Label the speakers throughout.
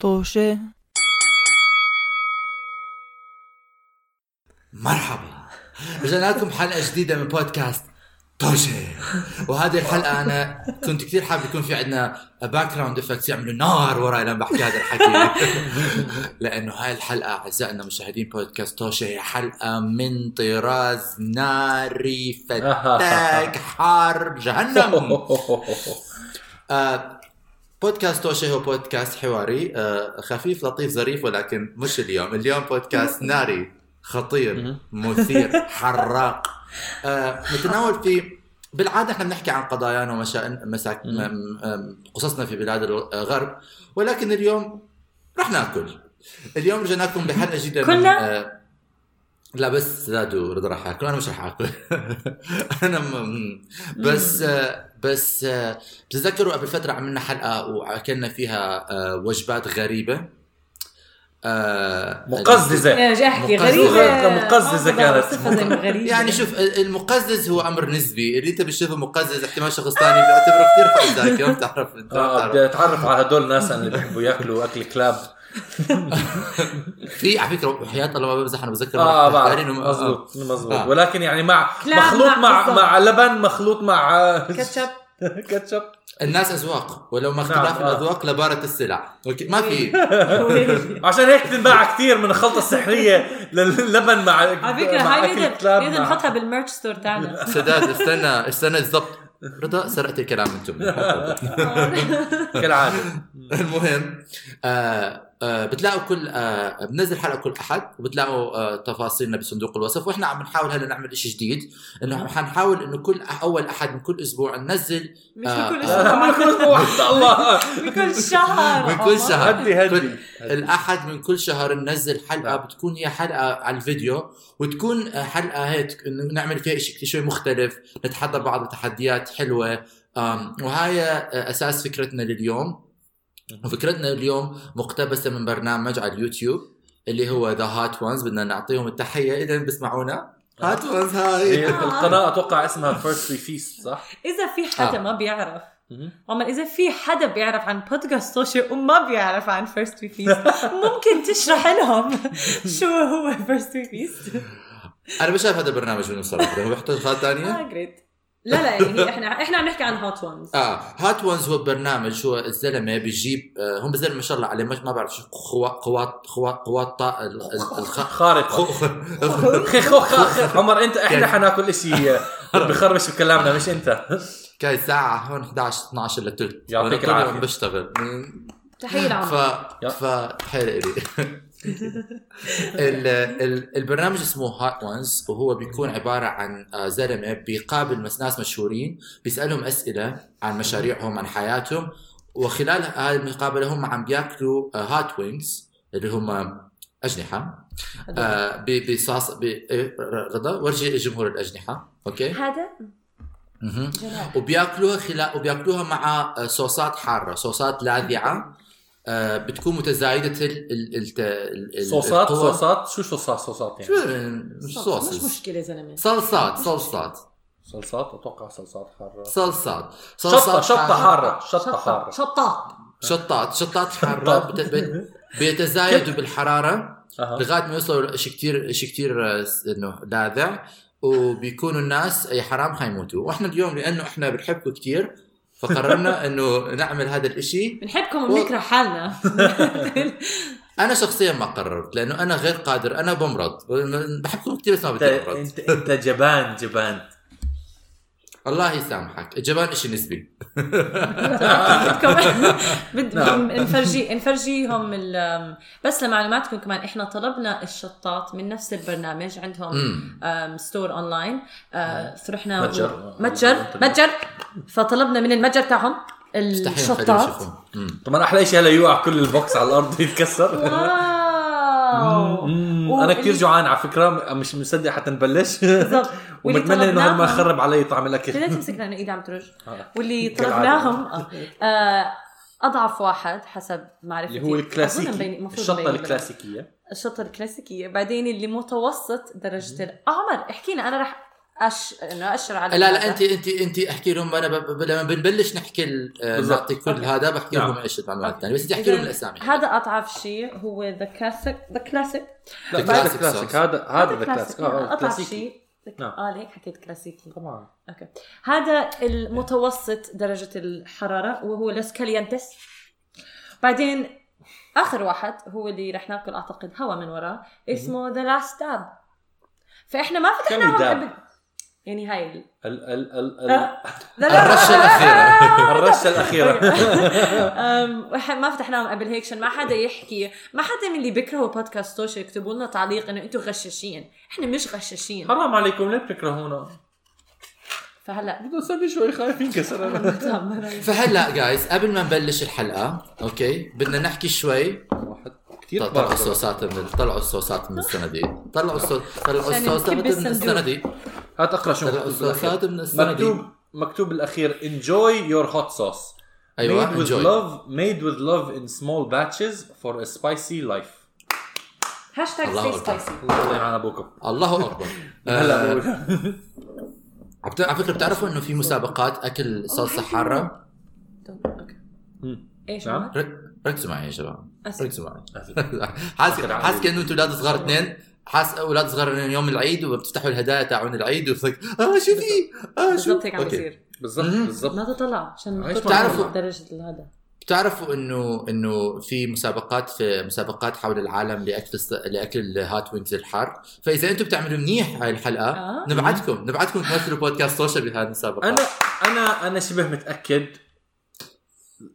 Speaker 1: طوشة
Speaker 2: مرحبا رجعنا لكم حلقه جديده من بودكاست طوشه وهذه الحلقه انا كنت كثير حابب يكون في عندنا باك جراوند افكتس يعملوا نار وراي لما بحكي هذا الحكي لانه هاي الحلقه اعزائنا مشاهدين بودكاست طوشه هي حلقه من طراز ناري فتاك حار
Speaker 3: نعم.
Speaker 2: جهنم آه، بودكاست توشي هو بودكاست حواري آه، خفيف لطيف ظريف ولكن مش اليوم اليوم بودكاست ناري خطير مثير حراق آه، نتناول في بالعاده احنا بنحكي عن قضايانا ومشا مساك م- م- قصصنا في بلاد الغرب ولكن اليوم رح ناكل اليوم رجعناكم بحلقه جديده من-
Speaker 4: كلنا؟
Speaker 2: آه، لا بس زادوا رضا رح اكل انا مش رح اكل انا م- بس آه، بس آه، بتتذكروا قبل فترة عملنا حلقة وأكلنا فيها آه، وجبات غريبة آه،
Speaker 4: يا
Speaker 3: مقززه
Speaker 4: جاي احكي
Speaker 2: مقززة.
Speaker 4: غريبة
Speaker 3: مقززة
Speaker 4: آه،
Speaker 3: كانت.
Speaker 4: صفة زي ما غريبة
Speaker 2: يعني شوف المقزز هو امر نسبي اللي انت بتشوفه مقزز احتمال شخص ثاني بيعتبره كثير حزاك ما بتعرف انت ما
Speaker 3: آه،
Speaker 2: بتعرف
Speaker 3: بدي اتعرف على هدول الناس اللي بيحبوا ياكلوا اكل كلاب
Speaker 2: في على فكره وحياة الله ما بمزح انا بتذكر
Speaker 3: اه
Speaker 2: مرة كنت
Speaker 3: بعرف
Speaker 2: قارن وم-
Speaker 3: مزبوط
Speaker 2: آه.
Speaker 3: مزبوط ولكن يعني مع
Speaker 4: كلاب
Speaker 3: مخلوط
Speaker 4: مع
Speaker 3: مع
Speaker 4: قصة.
Speaker 3: مع لبن مخلوط مع آه،
Speaker 4: يعني كاتشب
Speaker 3: كاتشب
Speaker 2: الناس اذواق ولو ما اختلاف
Speaker 3: نعم، آه.
Speaker 2: الاذواق لبارة السلع اوكي ما في
Speaker 3: عشان هيك تنباع كثير من الخلطه السحريه للبن مع
Speaker 4: على فكرة
Speaker 3: مع
Speaker 4: هاي
Speaker 3: أكل
Speaker 4: نقدر
Speaker 3: كلاب
Speaker 4: نقدر
Speaker 3: مع-
Speaker 4: نحطها بالميرش ستور تاعنا
Speaker 2: سداد استنى استنى الضبط رضا سرقت الكلام من تمي
Speaker 3: كالعاده
Speaker 2: المهم آه آه بتلاقوا كل آه بنزل حلقه كل احد وبتلاقوا آه تفاصيلنا بصندوق الوصف واحنا عم نحاول هلا نعمل شيء جديد انه حنحاول انه كل أح- اول احد من كل اسبوع ننزل
Speaker 4: مش
Speaker 2: آه،
Speaker 4: بكل
Speaker 2: آه.
Speaker 3: لا، من
Speaker 4: شهر
Speaker 3: كل اسبوع حتى الله
Speaker 4: بكل شهر
Speaker 2: من كل شهر
Speaker 3: هدي
Speaker 2: طيب.
Speaker 3: هدي.
Speaker 2: كل الاحد من كل شهر ننزل حلقه بتكون هي حلقه على الفيديو وتكون آه، حلقه هيك إنه نعمل فيها شيء شوي مختلف نتحدى بعض التحديات حلوه آم، وهاي آه، اساس فكرتنا لليوم وفكرتنا اليوم مقتبسه من برنامج على اليوتيوب اللي هو ذا هات وانز بدنا نعطيهم التحيه اذا بيسمعونا هات وانز
Speaker 3: هي
Speaker 2: هاي
Speaker 3: القناه اتوقع اسمها فيرست وي فيست صح؟
Speaker 4: اذا في حدا
Speaker 2: آه.
Speaker 4: ما بيعرف عمر اذا في حدا بيعرف عن بودكاست سوشي وما بيعرف عن فيرست وي فيست ممكن تشرح لهم شو هو فيرست وي فيست
Speaker 2: انا بشايف هذا البرنامج منه صراحه هو بيحتاج خطوات ثانيه
Speaker 4: اه جريت لا لا يعني هي احنا احنا عم نحكي عن هوت وانز
Speaker 2: اه هات وانز هو برنامج هو الزلمه بيجيب آه هم الزلمه ما شاء الله عليه ما ما بعرف شو خوا- قوات قوات قوات طا- ال- ال- الخ-
Speaker 3: خارقه
Speaker 2: خو- خو-
Speaker 3: اخي خو خو- عمر انت
Speaker 2: يعني-
Speaker 3: احنا حناكل اشي بخربش بكلامنا مش انت
Speaker 2: كاي الساعه هون 11 12 الا ثلث
Speaker 3: يعطيك
Speaker 2: وأنا كل يوم
Speaker 3: العافية.
Speaker 2: بشتغل
Speaker 4: تحيه
Speaker 2: ف
Speaker 4: لعمر
Speaker 3: يا.
Speaker 2: ف حلو الي ال- ال- البرنامج اسمه هات وانز وهو بيكون عباره عن آه، زلمه بيقابل مس- ناس مشهورين بيسالهم اسئله عن مشاريعهم عن حياتهم وخلال هاي المقابله هم عم بياكلوا هات وينجز اللي هم اجنحه آه، ب- بصوص ب- إيه، رضا ورجي جمهور الاجنحه اوكي
Speaker 4: هذا
Speaker 2: مهم.
Speaker 4: جناح
Speaker 2: وبياكلوها خلال وبياكلوها مع آه، صوصات حاره صوصات لاذعه آه، بتكون متزايده ال... ال... الت- ال... ال...
Speaker 3: صوصات
Speaker 2: القوى.
Speaker 3: صوصات شو صوصات صوصات
Speaker 2: شو
Speaker 3: يعني
Speaker 2: مش
Speaker 4: مش
Speaker 2: صوص
Speaker 4: مشكله زلمه
Speaker 2: صلصات صلصات
Speaker 3: صلصات اتوقع صلصات حاره
Speaker 2: صلصات
Speaker 3: شطه
Speaker 2: صلصات
Speaker 3: شطه
Speaker 2: حارة.
Speaker 3: حاره شطه حاره
Speaker 4: شطاط
Speaker 2: شطات شطات حاره بت... بت... بيتزايدوا بالحراره
Speaker 3: أها.
Speaker 2: لغايه ما يوصلوا شيء كثير شيء كثير انه آه، لاذع وبيكونوا الناس يا حرام حيموتوا واحنا اليوم لانه احنا بنحبكم كثير فقررنا انه نعمل هذا الاشي
Speaker 4: بنحبكم
Speaker 2: و-
Speaker 4: وبنكره حالنا
Speaker 2: انا شخصيا ما قررت لانه انا غير قادر انا بمرض بحبكم كثير بس ما
Speaker 3: انت
Speaker 2: بدي امرض
Speaker 3: انت انت جبان جبان
Speaker 2: الله يسامحك الجبان شيء نسبي
Speaker 4: بدكم
Speaker 3: نعم.
Speaker 4: بدكم نفرجي نفرجيهم ال- بس لمعلوماتكم كمان احنا طلبنا الشطاط من نفس البرنامج عندهم
Speaker 2: امم
Speaker 4: أم، ستور اونلاين أه، فرحنا و-
Speaker 3: متجر.
Speaker 4: متجر متجر فطلبنا من المتجر تاعهم
Speaker 2: مستحيل نخليهم
Speaker 4: الشطاط
Speaker 2: يشوفوهم. أمم.
Speaker 3: طبعا احلى شيء هلا يوقع كل البوكس على الارض يتكسر
Speaker 4: واو
Speaker 3: مم، انا كثير
Speaker 4: واللي-
Speaker 3: جوعان على فكره مش مصدق حتى نبلش
Speaker 4: بالضبط واللي
Speaker 3: ومتمنى انه هذا ما
Speaker 4: طلبناهم-
Speaker 3: يخرب علي
Speaker 4: لا
Speaker 3: طعم الاكل
Speaker 4: تمسك لانه ايدي عم ترج
Speaker 3: آه.
Speaker 4: واللي
Speaker 3: كالعادة.
Speaker 4: طلبناهم آه، آه، اضعف واحد حسب معرفتي
Speaker 3: اللي
Speaker 4: أظن
Speaker 3: هو
Speaker 4: مبين-
Speaker 3: الكلاسيكي
Speaker 4: المفروض
Speaker 3: الشطه
Speaker 4: مبين-
Speaker 3: الكلاسيكيه
Speaker 4: الشطه الكلاسيكيه بعدين اللي متوسط درجه ال- آه، عمر احكينا انا رح أش... انه اشر على
Speaker 2: لا لا
Speaker 4: هذا.
Speaker 2: انت انت انت احكي لهم انا ب... ب- لما بنبلش نحكي ال- آه،
Speaker 3: بالضبط.
Speaker 2: نعطي كل
Speaker 4: أوكي.
Speaker 2: هذا بحكي
Speaker 3: نعم.
Speaker 2: لهم ايش المعلومات
Speaker 4: أوكي.
Speaker 2: الثانيه بس بدي احكي
Speaker 4: إذا
Speaker 2: لهم الاسامي
Speaker 4: هذا اضعف شيء هو ذا كلاسيك ذا كلاسيك
Speaker 3: لا،
Speaker 2: The
Speaker 3: هذا
Speaker 2: classic sauce.
Speaker 3: كلاسيك هذا هذا آه، ذا كلاسيك
Speaker 4: اضعف شيء The-
Speaker 3: نعم.
Speaker 4: اه ليك حكيت كلاسيكي
Speaker 3: طبعا
Speaker 4: اوكي هذا المتوسط درجة الحرارة وهو لس كاليانتس بعدين اخر واحد هو اللي رح ناكل اعتقد هوا من وراه اسمه ذا لاست داب فاحنا ما
Speaker 3: كم
Speaker 4: فتحناهم
Speaker 3: الداب؟
Speaker 4: قبل يعني هاي ال...
Speaker 3: ال ال ال ال
Speaker 4: آه، The Last
Speaker 2: الرشة الأخيرة.
Speaker 3: الرشه
Speaker 4: طيب.
Speaker 3: الاخيره
Speaker 4: أم، وح- ما فتحناهم قبل هيك عشان ما حدا يحكي ما حدا من اللي بيكرهوا بودكاست توش يكتبوا لنا تعليق انه انتم غشاشين احنا مش غشاشين
Speaker 3: حرام عليكم ليه بتكرهونا؟
Speaker 4: فهلا نعم،
Speaker 3: بدنا نصلي شوي خايفين كسر انا
Speaker 2: فهلا جايز قبل ما نبلش الحلقه اوكي بدنا نحكي شوي
Speaker 3: واحد كثير
Speaker 2: طلعوا الصوصات من طلعوا الصوصات من الصناديق طلعوا الصوص طلعوا
Speaker 4: عشان
Speaker 2: الصوصات
Speaker 4: نكب
Speaker 2: من
Speaker 4: الصندوق.
Speaker 2: الصناديق
Speaker 3: هات اقرا شو
Speaker 2: طلعوا
Speaker 3: مكتوب بالأخير.
Speaker 2: الصوصات من
Speaker 3: مكتوب
Speaker 2: الصناديق
Speaker 3: مكتوب بالاخير enjoy your hot sauce
Speaker 2: أيوة،
Speaker 3: made with
Speaker 2: enjoy.
Speaker 3: love made with love in small batches for a spicy life
Speaker 4: هاشتاج
Speaker 2: الله
Speaker 4: سي
Speaker 2: أكبر.
Speaker 4: سبايسي
Speaker 3: الله يطلع على ابوكم
Speaker 2: الله اكبر
Speaker 3: هلا
Speaker 2: آه،
Speaker 3: بقول.
Speaker 2: عبت- على فكره بتعرفوا انه في مسابقات اكل صلصه حاره
Speaker 4: اوكي ايش
Speaker 3: نعم.
Speaker 4: عمر؟
Speaker 2: رك- ركزوا معي يا شباب
Speaker 4: أسف.
Speaker 2: ركزوا معي حاسس حاسس كانه انتم اولاد صغار اثنين حاسس اولاد صغار من يوم العيد وبتفتحوا الهدايا تاعون العيد وبتك اه شو في اه شو
Speaker 4: بالضبط هيك عم
Speaker 2: أوكي.
Speaker 4: بيصير
Speaker 3: بالضبط
Speaker 2: مم.
Speaker 3: بالضبط
Speaker 4: ما تطلع عشان ما
Speaker 3: عايش
Speaker 4: تطلع
Speaker 2: معنا.
Speaker 4: من درجة هذا
Speaker 2: بتعرفوا انه انه في مسابقات في مسابقات حول العالم لاكل الص- لاكل هات وينجز الحار فاذا انتم بتعملوا منيح هاي الحلقه
Speaker 4: آه.
Speaker 2: نبعتكم نبعتكم تمثلوا بودكاست سوشيال بهذه المسابقه
Speaker 3: انا انا انا شبه متاكد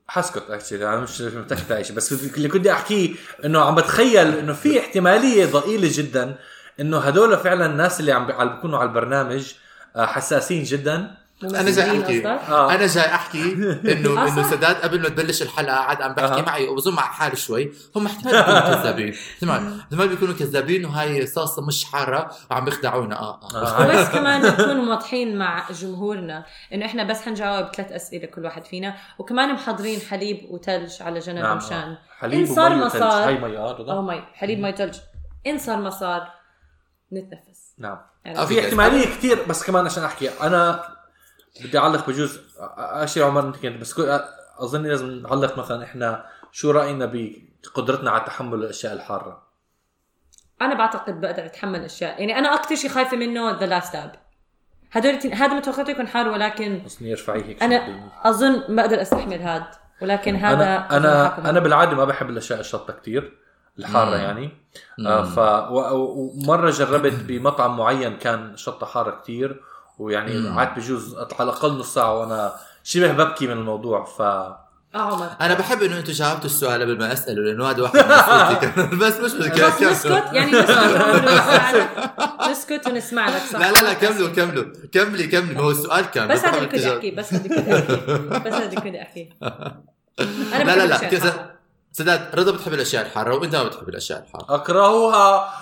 Speaker 3: حسكت اكشلي انا مش متاكد على شيء بس اللي كنت بدي احكيه انه عم بتخيل انه في احتماليه ضئيله جدا انه هدول فعلا الناس اللي عم بي- عم بيكونوا على البرنامج آه، حساسين
Speaker 4: نعم،
Speaker 3: جدا
Speaker 2: انا جاي احكي
Speaker 4: قصدك؟
Speaker 3: آه.
Speaker 2: انا جاي احكي انه
Speaker 4: أصلاً؟
Speaker 2: انه سداد قبل ما تبلش الحلقه قعد عم بحكي
Speaker 3: أها.
Speaker 2: معي وبظن مع حالي شوي هم احتمال بيكونوا كذابين احتمال احتمال بيكونوا كذابين وهاي صلصه مش حاره وعم بيخدعونا اه اه
Speaker 3: آه،
Speaker 4: وبس كمان نكون واضحين مع جمهورنا انه احنا بس حنجاوب ثلاث اسئله كل واحد فينا وكمان محضرين حليب وثلج على جنب
Speaker 3: نعم،
Speaker 4: مشان
Speaker 3: حليب
Speaker 4: إن صار
Speaker 3: ومي
Speaker 4: ما
Speaker 3: وثلج.
Speaker 4: صار.
Speaker 3: هاي مي
Speaker 4: او
Speaker 3: اه
Speaker 4: مي حليب مي ثلج ان صار ما صار نتنفس
Speaker 3: نعم
Speaker 4: يعني
Speaker 2: في
Speaker 3: في احتماليه كثير بس كمان عشان احكي انا بدي اعلق بجوز اشي عمر انت كنت بس كو- اظن لازم نعلق مثلا احنا شو راينا بقدرتنا على تحمل الاشياء الحاره
Speaker 4: انا بعتقد بقدر اتحمل اشياء يعني انا اكثر شيء خايفه منه ذا لاست داب هدول التن- هذا متوقعته يكون حار ولكن
Speaker 3: حسني يرفعي هيك
Speaker 4: انا اظن بقدر استحمل هذا ولكن هذا
Speaker 3: انا انا,
Speaker 4: حكم.
Speaker 3: أنا بالعاده ما بحب الاشياء الشطه كتير الحاره
Speaker 2: مم.
Speaker 3: يعني آه ف و- و- ومره جربت بمطعم معين كان شطه حاره كتير ويعني
Speaker 2: مم.
Speaker 3: قعدت بجوز على الاقل نص ساعه وانا شبه ببكي من الموضوع ف
Speaker 4: اه عمر
Speaker 2: انا بحب انه انتم جاوبتوا السؤال قبل ما اساله لانه هذا واحد من أسئلتي كان. بس مش بدك
Speaker 4: بس نسكت يعني نسكت ونسمع لك. نسكت ونسمع لك صح
Speaker 2: لا لا لا كملوا كملوا كملي كملي ما هو السؤال كان
Speaker 4: بس هذا
Speaker 2: بحاول
Speaker 4: اللي كنت
Speaker 2: أتجاوب.
Speaker 4: احكيه بس هذا اللي كنت احكيه بس هذا اللي كنت احكيه انا
Speaker 2: لا لا
Speaker 4: بحب
Speaker 2: لا
Speaker 4: الأشياء
Speaker 2: كذا
Speaker 4: الحارة.
Speaker 2: سداد رضا بتحب الاشياء الحاره وانت ما بتحب الاشياء الحاره
Speaker 3: اكرهها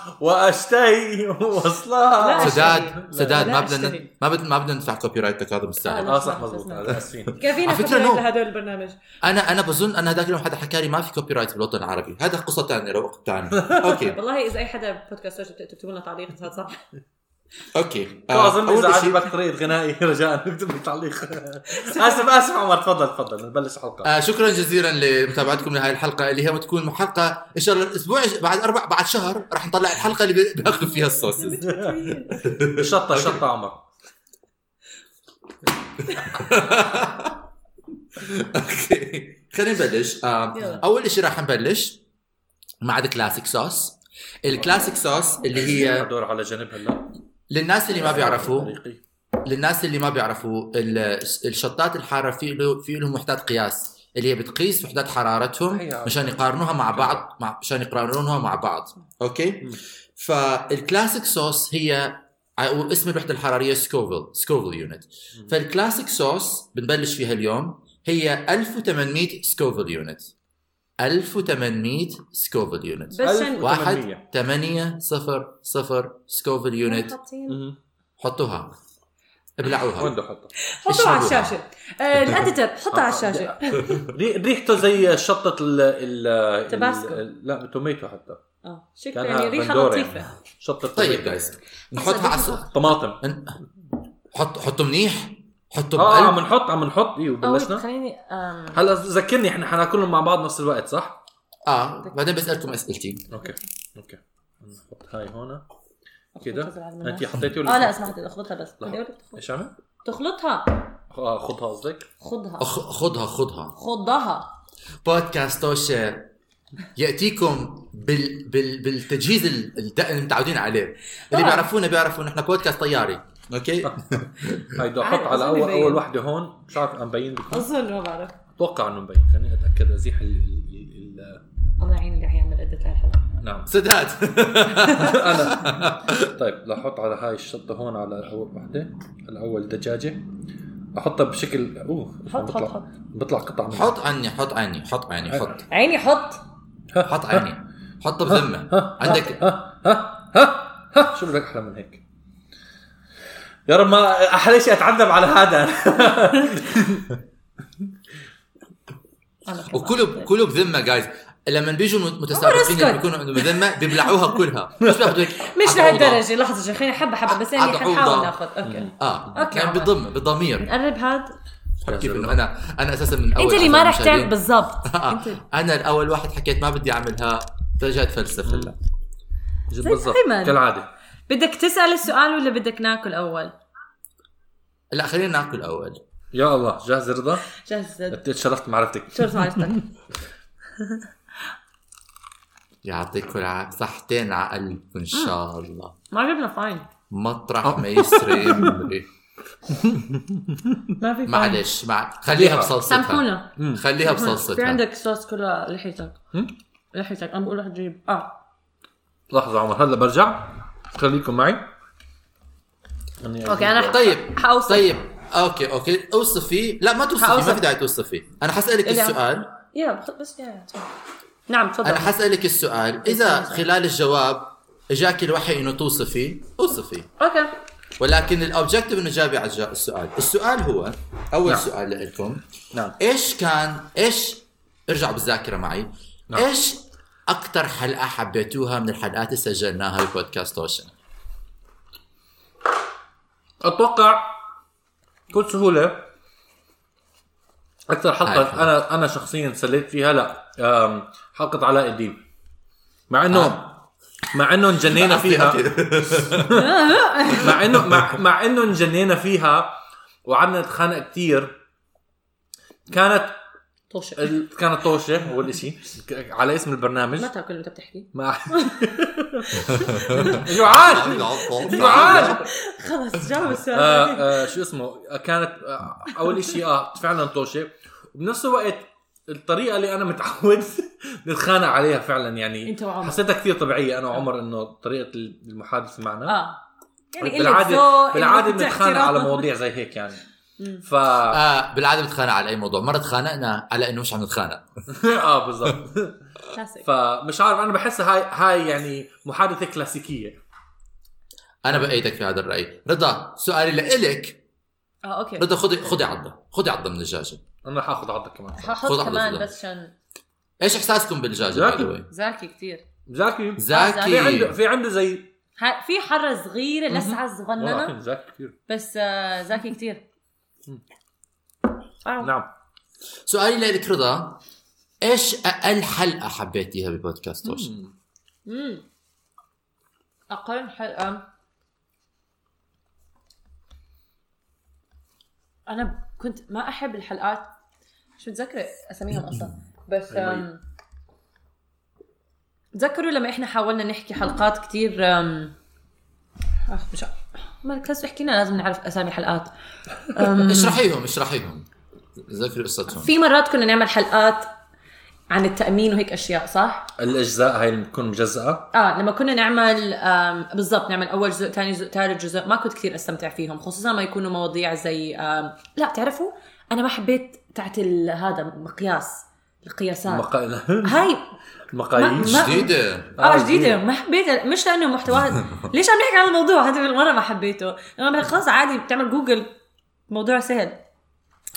Speaker 3: واشتهي
Speaker 4: لا.
Speaker 3: واصلها
Speaker 2: سداد سداد
Speaker 4: لا
Speaker 2: ما بدنا
Speaker 4: أشتري.
Speaker 2: ما بدنا ما بدنا ندفع كوبي رايتك هذا مستاهل
Speaker 4: لا.
Speaker 3: اه صح
Speaker 4: لا،
Speaker 3: مزبوط
Speaker 4: لا.
Speaker 3: آه، اسفين
Speaker 4: كفينا
Speaker 2: على فكرة
Speaker 4: فكرة
Speaker 2: نو.
Speaker 4: لهدول البرنامج
Speaker 2: انا انا بظن انا هذاك اليوم حدا حكى لي ما في كوبي رايت بالوطن العربي هذا قصه ثانيه لوقت ثاني اوكي
Speaker 4: والله اذا اي حدا بودكاست سوشيال تكتبوا لنا تعليق إذا هذا صح
Speaker 2: اوكي آه،
Speaker 3: اظن اذا
Speaker 2: أول شيء-
Speaker 3: عجبك طريقه غنائي رجاء اكتب لي تعليق اسف اسف عمر تفضل تفضل نبلش الحلقه
Speaker 2: آه شكرا جزيلا لمتابعتكم لهذه الحلقه اللي هي بتكون حلقه ان شاء الله الاسبوع بعد اربع بعد شهر راح نطلع الحلقه اللي بناخذ فيها الصوص
Speaker 3: شطه شطه عمر
Speaker 2: اوكي خلينا نبلش آه
Speaker 4: يلا.
Speaker 2: اول شيء راح نبلش مع الكلاسيك صوص الكلاسيك صوص اللي هي
Speaker 3: دور على جنب هلا
Speaker 2: للناس اللي ما بيعرفوا
Speaker 3: طريقي.
Speaker 2: للناس اللي ما بيعرفوا ال- الشطات الحاره في له في لهم وحدات قياس اللي هي بتقيس وحدات حرارتهم
Speaker 3: أيوة.
Speaker 2: مشان يقارنوها مع بعض مع مشان يقارنوها مع بعض اوكي
Speaker 3: مم.
Speaker 2: فالكلاسيك صوص هي أو اسم الوحده الحراريه سكوفل سكوفل يونت
Speaker 3: مم.
Speaker 2: فالكلاسيك صوص بنبلش فيها اليوم هي 1800 سكوفل يونت 1800 سكوفل يونت
Speaker 4: بس عشان-
Speaker 3: 1800.
Speaker 2: واحد ثمانية صفر صفر سكوفل يونت
Speaker 4: حاطين-
Speaker 3: مم.
Speaker 2: حطوها ابلعوها
Speaker 3: وين حطه
Speaker 4: حطوها على
Speaker 2: اشربوها.
Speaker 4: الشاشه آه، الاديتر حطها على
Speaker 2: آه،
Speaker 4: الشاشه
Speaker 3: ريحته زي شطه ال ال
Speaker 4: تباسكو.
Speaker 3: ال- لا توميتو حتى
Speaker 4: اه شكلها
Speaker 3: كانها
Speaker 4: يعني ريحه
Speaker 3: بندورة
Speaker 4: لطيفه
Speaker 3: يعني. شطه
Speaker 2: طيب
Speaker 3: توميتو.
Speaker 2: جايز نحطها على الصوص
Speaker 3: طماطم
Speaker 2: ن- حط حطه منيح حطه
Speaker 3: اه
Speaker 2: بقلب
Speaker 3: عم نحط عم نحط ايوه
Speaker 4: أو
Speaker 3: بلشنا
Speaker 4: خليني أم،
Speaker 3: هلا ذكرني احنا حناكل مع بعض نفس الوقت صح؟
Speaker 2: اه بعدين بسالكم اسئلتي
Speaker 3: اوكي اوكي نحط هاي هون
Speaker 4: أخبط
Speaker 3: كده
Speaker 4: جزر على المناخ.
Speaker 3: انت حطيتي ولا
Speaker 4: اه لا اسمح لي اخبطها بس بدي أقول لك تخ-
Speaker 3: ايش عمل؟
Speaker 4: تخلطها
Speaker 3: اه خطها قصدك؟
Speaker 4: خضها
Speaker 2: أخ- خضها خضها
Speaker 4: خضها
Speaker 2: بودكاست توشه ياتيكم بال... بال... بالتجهيز ال- الد- اللي متعودين عليه اللي
Speaker 4: طبعاً.
Speaker 2: بيعرفونا بيعرفوا انه احنا بودكاست طياري اوكي
Speaker 3: هيدا
Speaker 4: عارف،
Speaker 3: احط على
Speaker 4: أظن
Speaker 3: اول
Speaker 4: مبين.
Speaker 3: اول وحده هون مش عارف أنا مبين لكم.
Speaker 4: اظن ما بعرف
Speaker 3: اتوقع انه مبين خليني اتاكد ازيح ال- ال- ال- ال-
Speaker 4: الله يعين اللي حيعمل ادت هاي الحلقه
Speaker 3: نعم
Speaker 2: سداد
Speaker 3: انا طيب لاحط على هاي الشطه هون على اول وحده على اول دجاجه احطها بشكل اوه شو عم
Speaker 4: حط،
Speaker 3: بطلع
Speaker 4: حط.
Speaker 3: بطلع قطع منها.
Speaker 2: حط عني حط عني حط عني حط
Speaker 4: عيني حط
Speaker 2: حط عني حطه بذمه عندك
Speaker 3: ها ها ها ها شو بدك احلى من هيك يا رب ما احلى شيء اتعذب على هذا
Speaker 4: أنا كمان.
Speaker 2: وكلوا كلوا بذمه جايز لما بيجوا متسابقين اللي
Speaker 4: اسكت.
Speaker 2: بيكونوا عندهم ذمه بيبلعوها كلها مش بياخذوا هيك
Speaker 4: مش
Speaker 2: على الأوضة.
Speaker 4: لهالدرجه لحظه شوي خلينا حبه حبه بس يعني
Speaker 2: عطوا
Speaker 4: حنحاول
Speaker 2: أوضة.
Speaker 4: ناخذ اوكي
Speaker 2: اه
Speaker 4: أوكي.
Speaker 2: كان بضم بضمير
Speaker 4: نقرب هاد
Speaker 2: حب كيف انه انا انا اساسا من اول
Speaker 4: انت اللي ما
Speaker 2: أصلاً
Speaker 4: رح تعمل
Speaker 2: مشاهدين.
Speaker 4: بالضبط
Speaker 2: آه،
Speaker 4: انت
Speaker 2: انا الاول واحد حكيت ما بدي اعملها رجعت فلسفه لا
Speaker 3: جد
Speaker 4: زي
Speaker 3: بالضبط
Speaker 4: دايماً.
Speaker 3: كالعاده
Speaker 4: بدك تسال السؤال ولا بدك ناكل اول؟
Speaker 2: لا خلينا ناكل اول
Speaker 3: يا الله جاهز رضا
Speaker 4: جهز
Speaker 3: تشرفت معرفتك
Speaker 4: شرف معرفتك
Speaker 2: يعطيكم العافيه صحتين على
Speaker 4: آه.
Speaker 2: قلبكم ان شاء الله
Speaker 4: ما عجبنا فاين
Speaker 2: مطرح ما يسري أمري.
Speaker 4: آه. ما في فاين
Speaker 2: معلش مع خليها بصلصتها
Speaker 4: سامحونا
Speaker 2: خليها
Speaker 4: في
Speaker 2: بصلصتها
Speaker 4: عندك صوص كلها لحيتك لحيتك انا بقول رح تجيب اه
Speaker 3: لحظه عمر هلا برجع خليكم معي
Speaker 4: اوكي انا رح
Speaker 2: طيب
Speaker 4: حأوصف.
Speaker 2: طيب اوكي اوكي اوصفي لا ما توصفي ما
Speaker 4: حأوصف.
Speaker 2: في داعي توصفي انا حسالك
Speaker 4: إذا-
Speaker 2: السؤال
Speaker 4: يا بخ- بس يا تفضل. نعم تفضل
Speaker 2: انا حسالك السؤال اذا خلال الجواب اجاك الوحي انه توصفي اوصفي
Speaker 4: اوكي
Speaker 2: ولكن الاوبجيكتيف انه جابي على الجا- السؤال السؤال هو اول
Speaker 3: نعم.
Speaker 2: سؤال لكم
Speaker 3: نعم
Speaker 2: ايش كان ايش ارجع بالذاكره معي
Speaker 3: نعم.
Speaker 2: ايش اكثر حلقه حبيتوها من الحلقات اللي سجلناها ببودكاست توشن
Speaker 3: اتوقع بكل سهوله اكثر
Speaker 2: هاي الحلقة.
Speaker 3: حلقه انا انا شخصيا سليت فيها لا أم، حلقه علاء الدين مع انه مع انه انجنينا فيها مع انه مع, مع انه انجنينا فيها وقعدنا نتخانق كثير كانت
Speaker 2: طيب.
Speaker 4: طوشك
Speaker 3: ال- كانت طوشه اول شيء على اسم البرنامج
Speaker 4: ما تاكل وانت بتحكي
Speaker 3: ما جوعان جوعان
Speaker 4: خلص جاوب
Speaker 3: آه،
Speaker 4: السؤال
Speaker 3: آه، شو اسمه آه، كانت آه، اول شيء اه فعلا طوشه وبنفس الوقت الطريقه اللي انا متعود نتخانق عليها فعلا يعني
Speaker 4: أنت وعمر.
Speaker 3: حسيتها كثير طبيعيه انا وعمر انه طريقه المحادثه معنا
Speaker 4: اه يعني قلة
Speaker 3: بالعاده
Speaker 4: ذوق،
Speaker 3: بالعاده
Speaker 4: قلة
Speaker 3: بنتخانق
Speaker 4: احترام.
Speaker 3: على مواضيع زي هيك يعني
Speaker 4: مم.
Speaker 3: ف اه
Speaker 2: آه بالعاده بتخانق على اي موضوع مره تخانقنا على انه مش عم نتخانق
Speaker 3: آه، بالضبط
Speaker 4: كلاسيك.
Speaker 3: فمش عارف انا بحسها هاي هاي يعني محادثه كلاسيكيه
Speaker 2: انا بايدك في هذا الراي رضا سؤالي لإلك
Speaker 4: اه اوكي
Speaker 2: رضا خذي خذي عضه خذي عضه من الدجاجه
Speaker 3: انا رح اخذ عضك كمان
Speaker 4: ححط
Speaker 2: خذ على
Speaker 4: كمان
Speaker 2: الأسلوب.
Speaker 4: بس عشان
Speaker 2: ايش احساسكم بالدجاجه
Speaker 3: زاكي.
Speaker 2: باي ذا واي؟
Speaker 4: زاكي كثير
Speaker 3: زاكي في عنده
Speaker 2: زاكي
Speaker 3: في عنده زي
Speaker 4: ها- في حرة صغيرة لسعة
Speaker 3: والله
Speaker 4: صغننة
Speaker 3: زاكي كثير
Speaker 4: بس آه، زاكي كثير آه.
Speaker 3: نعم
Speaker 2: سؤالي لإلك رضا ايش اقل حلقه حبيتيها ببودكاست توش؟
Speaker 4: مم. أقل حلقة أنا كنت ما أحب الحلقات شو متذكرة أساميهم أصلا بس أم، تذكروا لما إحنا حاولنا نحكي حلقات كتير أم، أخ مش مركز حكينا لازم نعرف أسامي حلقات
Speaker 2: اشرحيهم اشرحيهم ذكري قصتهم
Speaker 4: في مرات كنا نعمل حلقات عن التأمين وهيك أشياء صح؟
Speaker 3: الاجزاء هاي اللي بتكون مجزأه
Speaker 4: اه لما كنا نعمل آم، بالضبط نعمل اول جزء ثاني جزء ثالث جزء ما كنت كثير استمتع فيهم خصوصا ما يكونوا مواضيع زي آم، لا بتعرفوا انا ما حبيت تاعت ال- هذا مقياس القياسات
Speaker 3: المقا...
Speaker 4: هاي
Speaker 3: المقاييس
Speaker 4: ما-
Speaker 2: جديده
Speaker 3: آه،
Speaker 4: اه جديده ما حبيت مش لانه محتواها ليش عم نحكي عن الموضوع هذا بالمره ما حبيته انا بقول خلاص عادي بتعمل جوجل موضوع سهل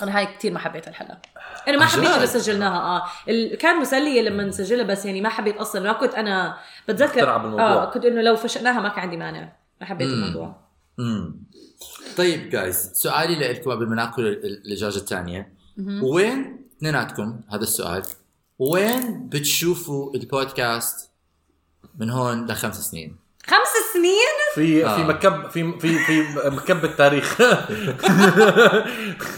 Speaker 4: انا هاي كثير ما حبيت الحلقه انا ما
Speaker 2: عن جد؟
Speaker 4: حبيت اللي سجلناها اه ال... كان مسليه لما نسجلها بس يعني ما حبيت اصلا ما كنت انا بتذكر آه،
Speaker 3: مقتنعة بالموضوع.
Speaker 4: اه كنت انه لو فشلناها ما كان عندي مانع ما حبيت الموضوع
Speaker 2: مم. طيب جايز سؤالي لكم قبل ما ناكل ال- الدجاجه الثانيه وين اثنيناتكم هذا السؤال وين بتشوفوا البودكاست من هون لخمس سنين؟
Speaker 4: خمس سنين
Speaker 3: في
Speaker 2: آه.
Speaker 3: في مكب في في في مكب التاريخ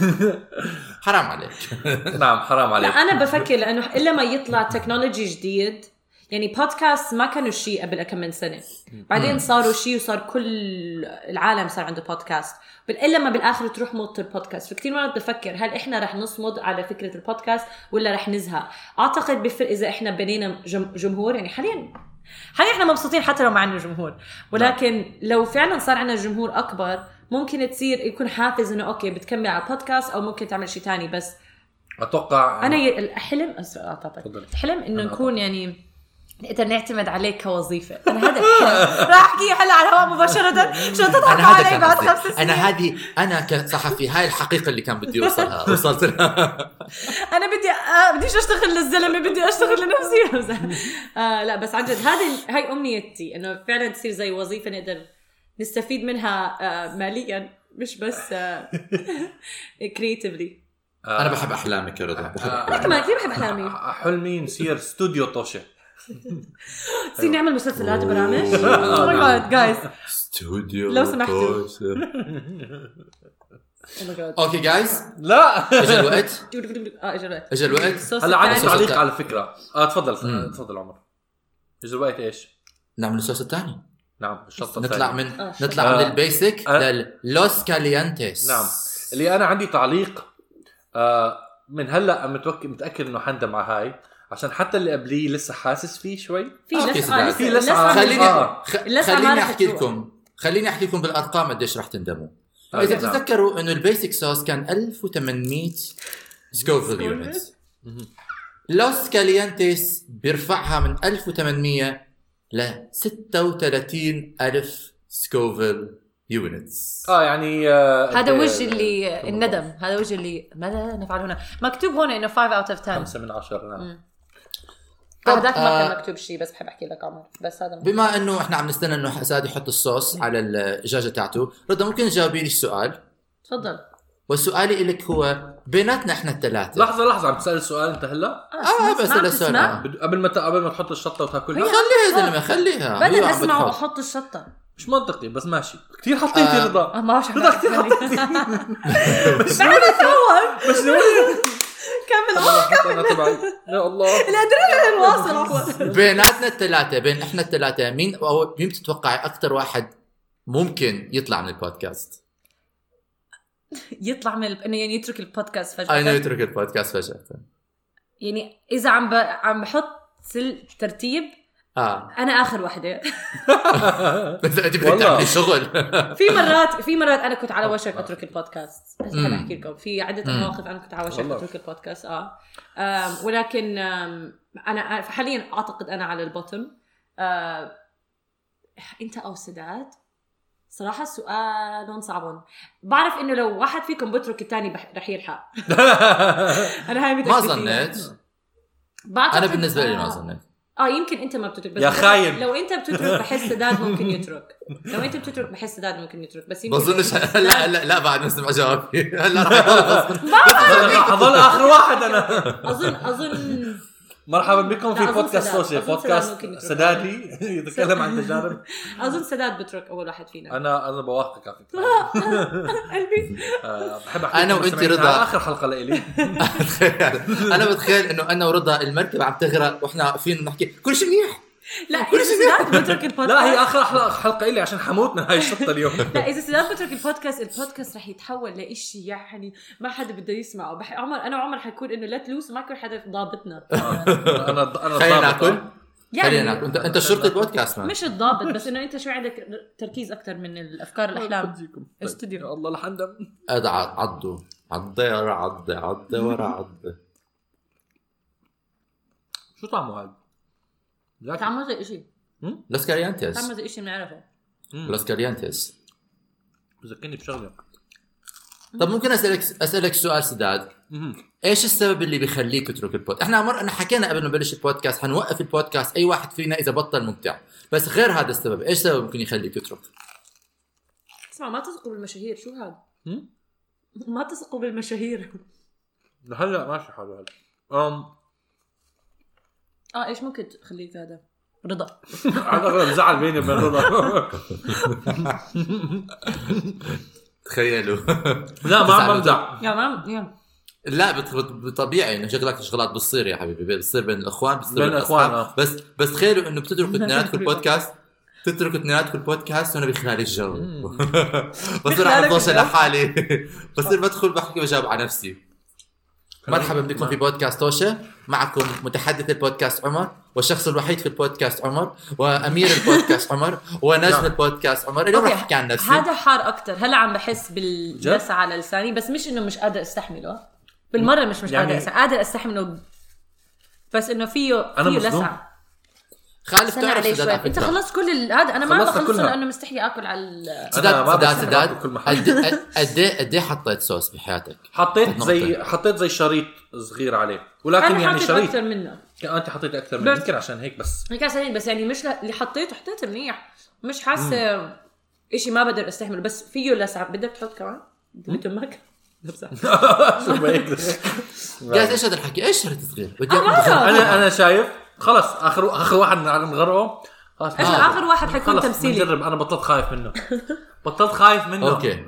Speaker 2: حرام عليك
Speaker 3: نعم حرام
Speaker 4: لا
Speaker 3: عليك
Speaker 4: انا بفكر لانه الا ما يطلع تكنولوجي جديد يعني بودكاست ما كانوا شيء قبل كم من سنه بعدين صاروا شيء وصار كل العالم صار عنده بودكاست بل الا ما بالاخر تروح موت البودكاست فكثير مرات بفكر هل احنا رح نصمد على فكره البودكاست ولا رح نزهق اعتقد بفرق اذا احنا بنينا جم- جمهور يعني حاليا حاليا احنا مبسوطين حتى لو ما عندنا جمهور ولكن لو فعلا صار عندنا جمهور اكبر ممكن تصير يكون حافز انه اوكي بتكمل على البودكاست او ممكن تعمل شيء تاني بس
Speaker 3: اتوقع
Speaker 4: انا ي- آه، الحلم أسف، اعطيتك
Speaker 3: آه. تفضل.
Speaker 4: الحلم انه
Speaker 3: أنا
Speaker 4: نكون يعني نقدر نعتمد عليك كوظيفه انا هذا الحلم راح احكيه هلا على الهواء مباشره شو تضحك
Speaker 2: انا هذا
Speaker 4: علي
Speaker 2: كان
Speaker 4: بعد
Speaker 2: قصدي.
Speaker 4: خمس سنين
Speaker 2: انا هذه انا كصحفي هاي الحقيقه اللي كان بدي اوصلها وصلت لها
Speaker 4: انا بدي آه بديش اشتغل للزلمه بدي اشتغل لنفسي آه لا بس عن جد هذه ال- هاي امنيتي انه فعلا تصير زي وظيفه نقدر نستفيد منها آه ماليا مش بس آه، كريتيفلي
Speaker 2: انا بحب احلامك يا رضا بحب
Speaker 3: آه.
Speaker 4: انا
Speaker 2: أحلامك.
Speaker 4: كمان كثير بحب احلامي
Speaker 3: حلمي نصير استوديو طوشه
Speaker 4: نصير نعمل مسلسلات برامج Oh
Speaker 2: أوه.
Speaker 4: جايز
Speaker 2: استوديو
Speaker 4: لو سمحتوا.
Speaker 2: كوثر.
Speaker 4: اوه ماي
Speaker 2: اوكي جايز
Speaker 3: لا
Speaker 2: اجى الوقت
Speaker 4: اه اجى الوقت
Speaker 2: اجى الوقت
Speaker 4: الصوص
Speaker 3: هلا عندي
Speaker 2: الصوص
Speaker 4: الثاني.
Speaker 3: تعليق
Speaker 2: التاني.
Speaker 3: على فكره اه تفضل
Speaker 2: مم.
Speaker 3: تفضل عمر اجى الوقت ايش؟
Speaker 2: نعمل الصوص الثاني
Speaker 3: نعم الشطه
Speaker 2: نطلع
Speaker 3: الثانية.
Speaker 2: من
Speaker 4: آه،
Speaker 2: نطلع من
Speaker 3: آه.
Speaker 2: البيسك
Speaker 3: آه.
Speaker 2: للوس كاليانتس
Speaker 3: نعم اللي انا عندي تعليق آه من هلا متوقع متاكد انه حندم على هاي عشان حتى اللي قبليه لسه حاسس فيه شوي
Speaker 4: في
Speaker 2: آه،
Speaker 4: لسعه
Speaker 2: في
Speaker 4: لسعه
Speaker 3: في لسعة.
Speaker 4: لسعة.
Speaker 3: خليني-
Speaker 2: خليني
Speaker 3: آه.
Speaker 2: خ-
Speaker 4: لسه ما
Speaker 2: خليني
Speaker 4: رح
Speaker 2: احكي
Speaker 4: تروح.
Speaker 2: لكم خليني احكي لكم بالارقام قديش رح تندموا
Speaker 3: آه،
Speaker 2: اذا
Speaker 3: نعم.
Speaker 2: تتذكروا انه البيسك صوص كان 1800 سكوفيل
Speaker 4: سكوفيل.
Speaker 2: يونت لوس كاليانتس بيرفعها من 1800 ل 36000 سكوفيل يونتس
Speaker 3: اه يعني آه
Speaker 4: هذا
Speaker 3: قد إيه
Speaker 4: وجه اللي
Speaker 3: كم
Speaker 4: الندم هذا وجه اللي ماذا نفعل هنا مكتوب هون انه 5 اوت اوف 10
Speaker 3: خمسة من عشرة نعم
Speaker 2: طب،
Speaker 4: هذاك ما
Speaker 2: آه.
Speaker 4: كان مكتوب شيء بس بحب احكي لك عمر بس هذا مكتوب.
Speaker 2: بما انه احنا عم نستنى انه سعد يحط الصوص على الدجاجه تاعته رضا ممكن تجاوبي لي السؤال
Speaker 4: تفضل آه،
Speaker 2: وسؤالي لك هو بيناتنا احنا الثلاثه
Speaker 3: لحظة لحظة عم تسأل سؤال أنت هلا
Speaker 2: اه بس
Speaker 4: عم
Speaker 2: السؤال
Speaker 4: تسمع؟
Speaker 2: آه.
Speaker 3: بد- قبل ما ت- قبل ما تحط الشطة
Speaker 4: هي-
Speaker 3: وتاكلها
Speaker 2: خليها يا زلمه خليها هي
Speaker 4: بدل
Speaker 2: عم
Speaker 4: اسمع
Speaker 2: بتخاف.
Speaker 4: واحط الشطه
Speaker 3: مش منطقي بس ماشي كثير حطيت
Speaker 2: آه.
Speaker 3: آه.
Speaker 4: آه،
Speaker 3: رضا
Speaker 4: ما بعرف شو
Speaker 3: رضا
Speaker 4: بدك
Speaker 3: كثير
Speaker 4: تعمل.
Speaker 3: حطيت
Speaker 4: بعد اتصور
Speaker 3: بس نقول
Speaker 4: كمل عمر.
Speaker 3: أنا تبعي يا الله
Speaker 4: الادرينالين واصل عمر.
Speaker 2: بيناتنا الثلاثة بين احنا الثلاثة مين أو مين بتتوقعي أكثر واحد ممكن يطلع من البودكاست؟
Speaker 4: يطلع من الب- انه يعني يترك البودكاست
Speaker 2: أنا
Speaker 4: فجاه
Speaker 2: يترك البودكاست فجأة
Speaker 4: يعني اذا عم ب... عم بحط سل- ترتيب
Speaker 2: اه
Speaker 4: انا اخر وحده
Speaker 2: بس انت بدك
Speaker 3: والله.
Speaker 2: تعملي شغل
Speaker 4: في مرات في مرات انا كنت على وشك اترك البودكاست بس انا احكي لكم في عده
Speaker 2: مم.
Speaker 4: مواقف انا كنت على وشك
Speaker 3: والله.
Speaker 4: اترك البودكاست اه آم، ولكن آم، آه، انا حاليا اعتقد انا على البوتم آه، انت او سداد صراحة سؤال صعب بعرف انه لو واحد فيكم بترك الثاني رح يلحق انا هاي
Speaker 2: ما
Speaker 4: متأكدة فيها.
Speaker 2: ظنيت
Speaker 4: بعتقد-
Speaker 2: أنا بالنسبة لي ما
Speaker 4: آه.
Speaker 2: ظنيت
Speaker 4: اه يمكن انت ما بتترك بس
Speaker 3: يا
Speaker 4: لو-
Speaker 3: خاين.
Speaker 4: لو انت بتترك بحس سداد ممكن يترك لو انت بتترك بحس سداد ممكن يترك بس يمكن
Speaker 2: بظنش لا لا لا بعد ما اسمع جوابي هلا رح يخلص.
Speaker 3: حضل آخر واحد أنا
Speaker 4: اظن اظن
Speaker 3: مرحبا بكم
Speaker 4: لا،
Speaker 3: في
Speaker 4: أظن
Speaker 3: بودكاست
Speaker 4: سداد.
Speaker 3: سوشي
Speaker 4: أظن سداد
Speaker 3: بودكاست
Speaker 4: ممكن يترك.
Speaker 3: سدادي يتكلم عن تجارب
Speaker 4: اظن سداد بترك اول واحد فينا
Speaker 3: أنا أنا بوافقك على فكرة
Speaker 4: قلبي
Speaker 3: آه، بحب أحكي
Speaker 2: أنا
Speaker 3: لكم
Speaker 2: وأنت
Speaker 3: مستمعينا
Speaker 2: رضا.
Speaker 3: على آخر حلقة لإلي
Speaker 2: أنا بتخيل إنه أنا ورضا المركبة عم تغرق وإحنا واقفين نحكي كل شيء منيح
Speaker 4: لا اذا سداد بترك البودكاست
Speaker 3: لا هي آخر حلقة حلقة إلي عشان حموت من هاي الشطة اليوم آه،
Speaker 4: لا اذا سداد بترك البودكاست البودكاست رح يتحول لإشي يعني ما حدا بده يسمعه بح... عمر انا وعمر حيكون انه لا تلوس ما كل حدا ضابطنا
Speaker 3: انا انا الضابط.
Speaker 2: خلينا ناكل خلينا
Speaker 4: يعني
Speaker 2: ناكل أنت أنت شرطة بودكاست مان
Speaker 4: مش الضابط بس انه انت شوي عندك تركيز اكثر من الافكار الاحلام
Speaker 3: بديكم.
Speaker 4: استوديو.
Speaker 3: طيب. يا الله لحندم
Speaker 2: أدعى عضه عضه ورا عضه عضه ورا عضه
Speaker 3: شو طعمه هذا؟ ذاك
Speaker 4: طعمه زي إشي
Speaker 2: لوس كاريانتس
Speaker 4: طعمه زي إشي بنعرفه
Speaker 2: لوس كاريانتس
Speaker 3: بذكرني بشغله
Speaker 2: طب ممكن اسالك اسالك سؤال سداد
Speaker 3: مم.
Speaker 2: ايش السبب اللي بيخليك تترك البودكاست؟ احنا مر انا حكينا قبل ما نبلش البودكاست حنوقف البودكاست اي واحد فينا اذا بطل ممتع، بس غير هذا السبب، ايش سبب ممكن يخليك تترك؟
Speaker 4: اسمع ما تثقوا بالمشاهير شو هذا؟
Speaker 3: هم؟
Speaker 4: ما تثقوا بالمشاهير
Speaker 3: هلا ماشي حاله هلا أم،
Speaker 4: اه ايش ممكن تخليك هذا؟ رضا
Speaker 3: على الاغلب زعل بيني وبين رضا
Speaker 2: تخيلوا
Speaker 3: لا ما عم بمزح
Speaker 4: يا مام يا
Speaker 2: لا بت- بت- بطبيعي انه شغلات شغلات بتصير يا حبيبي بتصير بين الاخوان بتصير
Speaker 3: بين آه.
Speaker 2: بين
Speaker 3: الإخوان،
Speaker 2: الاخوان بس بس تخيلوا انه بتتركوا اثنيناتكم البودكاست تتركوا اثنيناتكم البودكاست وانا بخلال الجو بصير
Speaker 4: بخلالك
Speaker 2: على طوشه
Speaker 4: الجو.
Speaker 2: لحالي بصير بدخل بحكي بجاوب على نفسي مرحبا
Speaker 3: نعم.
Speaker 2: بكم في بودكاست توشه معكم متحدث البودكاست عمر والشخص الوحيد في البودكاست عمر وامير البودكاست عمر ونجم
Speaker 3: نعم.
Speaker 2: البودكاست عمر اليوم رح
Speaker 4: أوكي.
Speaker 2: احكي عن نفسي
Speaker 4: هذا حار اكثر هلا عم بحس
Speaker 3: جد؟
Speaker 4: بالدس على لساني بس مش انه مش قادر استحمله بالمره مش مش
Speaker 3: يعني-
Speaker 4: قادر استحمله قادر استحمله بس انه فيه
Speaker 3: أنا
Speaker 4: فيه
Speaker 3: مظلوم.
Speaker 4: لسعه
Speaker 2: خالد
Speaker 4: استنى
Speaker 2: بتعرف
Speaker 4: عليه
Speaker 2: سداد
Speaker 4: شوي
Speaker 2: على
Speaker 4: انت
Speaker 2: فكرة.
Speaker 4: خلصت كل ال- هذا انا ما
Speaker 3: خلصتها
Speaker 4: بخلصه
Speaker 3: كلها.
Speaker 4: لانه مستحي ااكل على ال-
Speaker 3: أنا
Speaker 2: سداد
Speaker 3: ما
Speaker 2: سداد
Speaker 3: بستحق
Speaker 2: سداد
Speaker 3: بكل محل.
Speaker 2: قد قد- قد ايه حطيت صوص بحياتك؟
Speaker 3: حطيت زي حطيت زي شريط صغير عليه ولكن
Speaker 4: انا
Speaker 3: يعني
Speaker 4: حاطط
Speaker 3: شريط
Speaker 4: اكثر منه
Speaker 3: انت حطيت اكثر من
Speaker 4: بس.
Speaker 3: يمكن عشان هيك بس
Speaker 4: هيك عشان بس يعني مش ل- اللي حطيته حطيته منيح مش حاسه اشي ما بقدر استحمله بس فيه لسعه بدك تحط كمان بدمك بمزح.
Speaker 3: شو بهيك؟
Speaker 2: جاز ايش هذا الحكي؟ ايش شريط صغير؟ بدي
Speaker 4: آه، ما
Speaker 2: أكل
Speaker 4: أعرف.
Speaker 3: انا انا شايف خلص اخر اخر واحد نغرقه خلص
Speaker 4: ايش
Speaker 2: آه.
Speaker 4: اخر واحد حيكون
Speaker 3: خلص
Speaker 4: تمثيلي
Speaker 3: بنجرب انا بطلت خايف منه بطلت خايف منه
Speaker 2: اوكي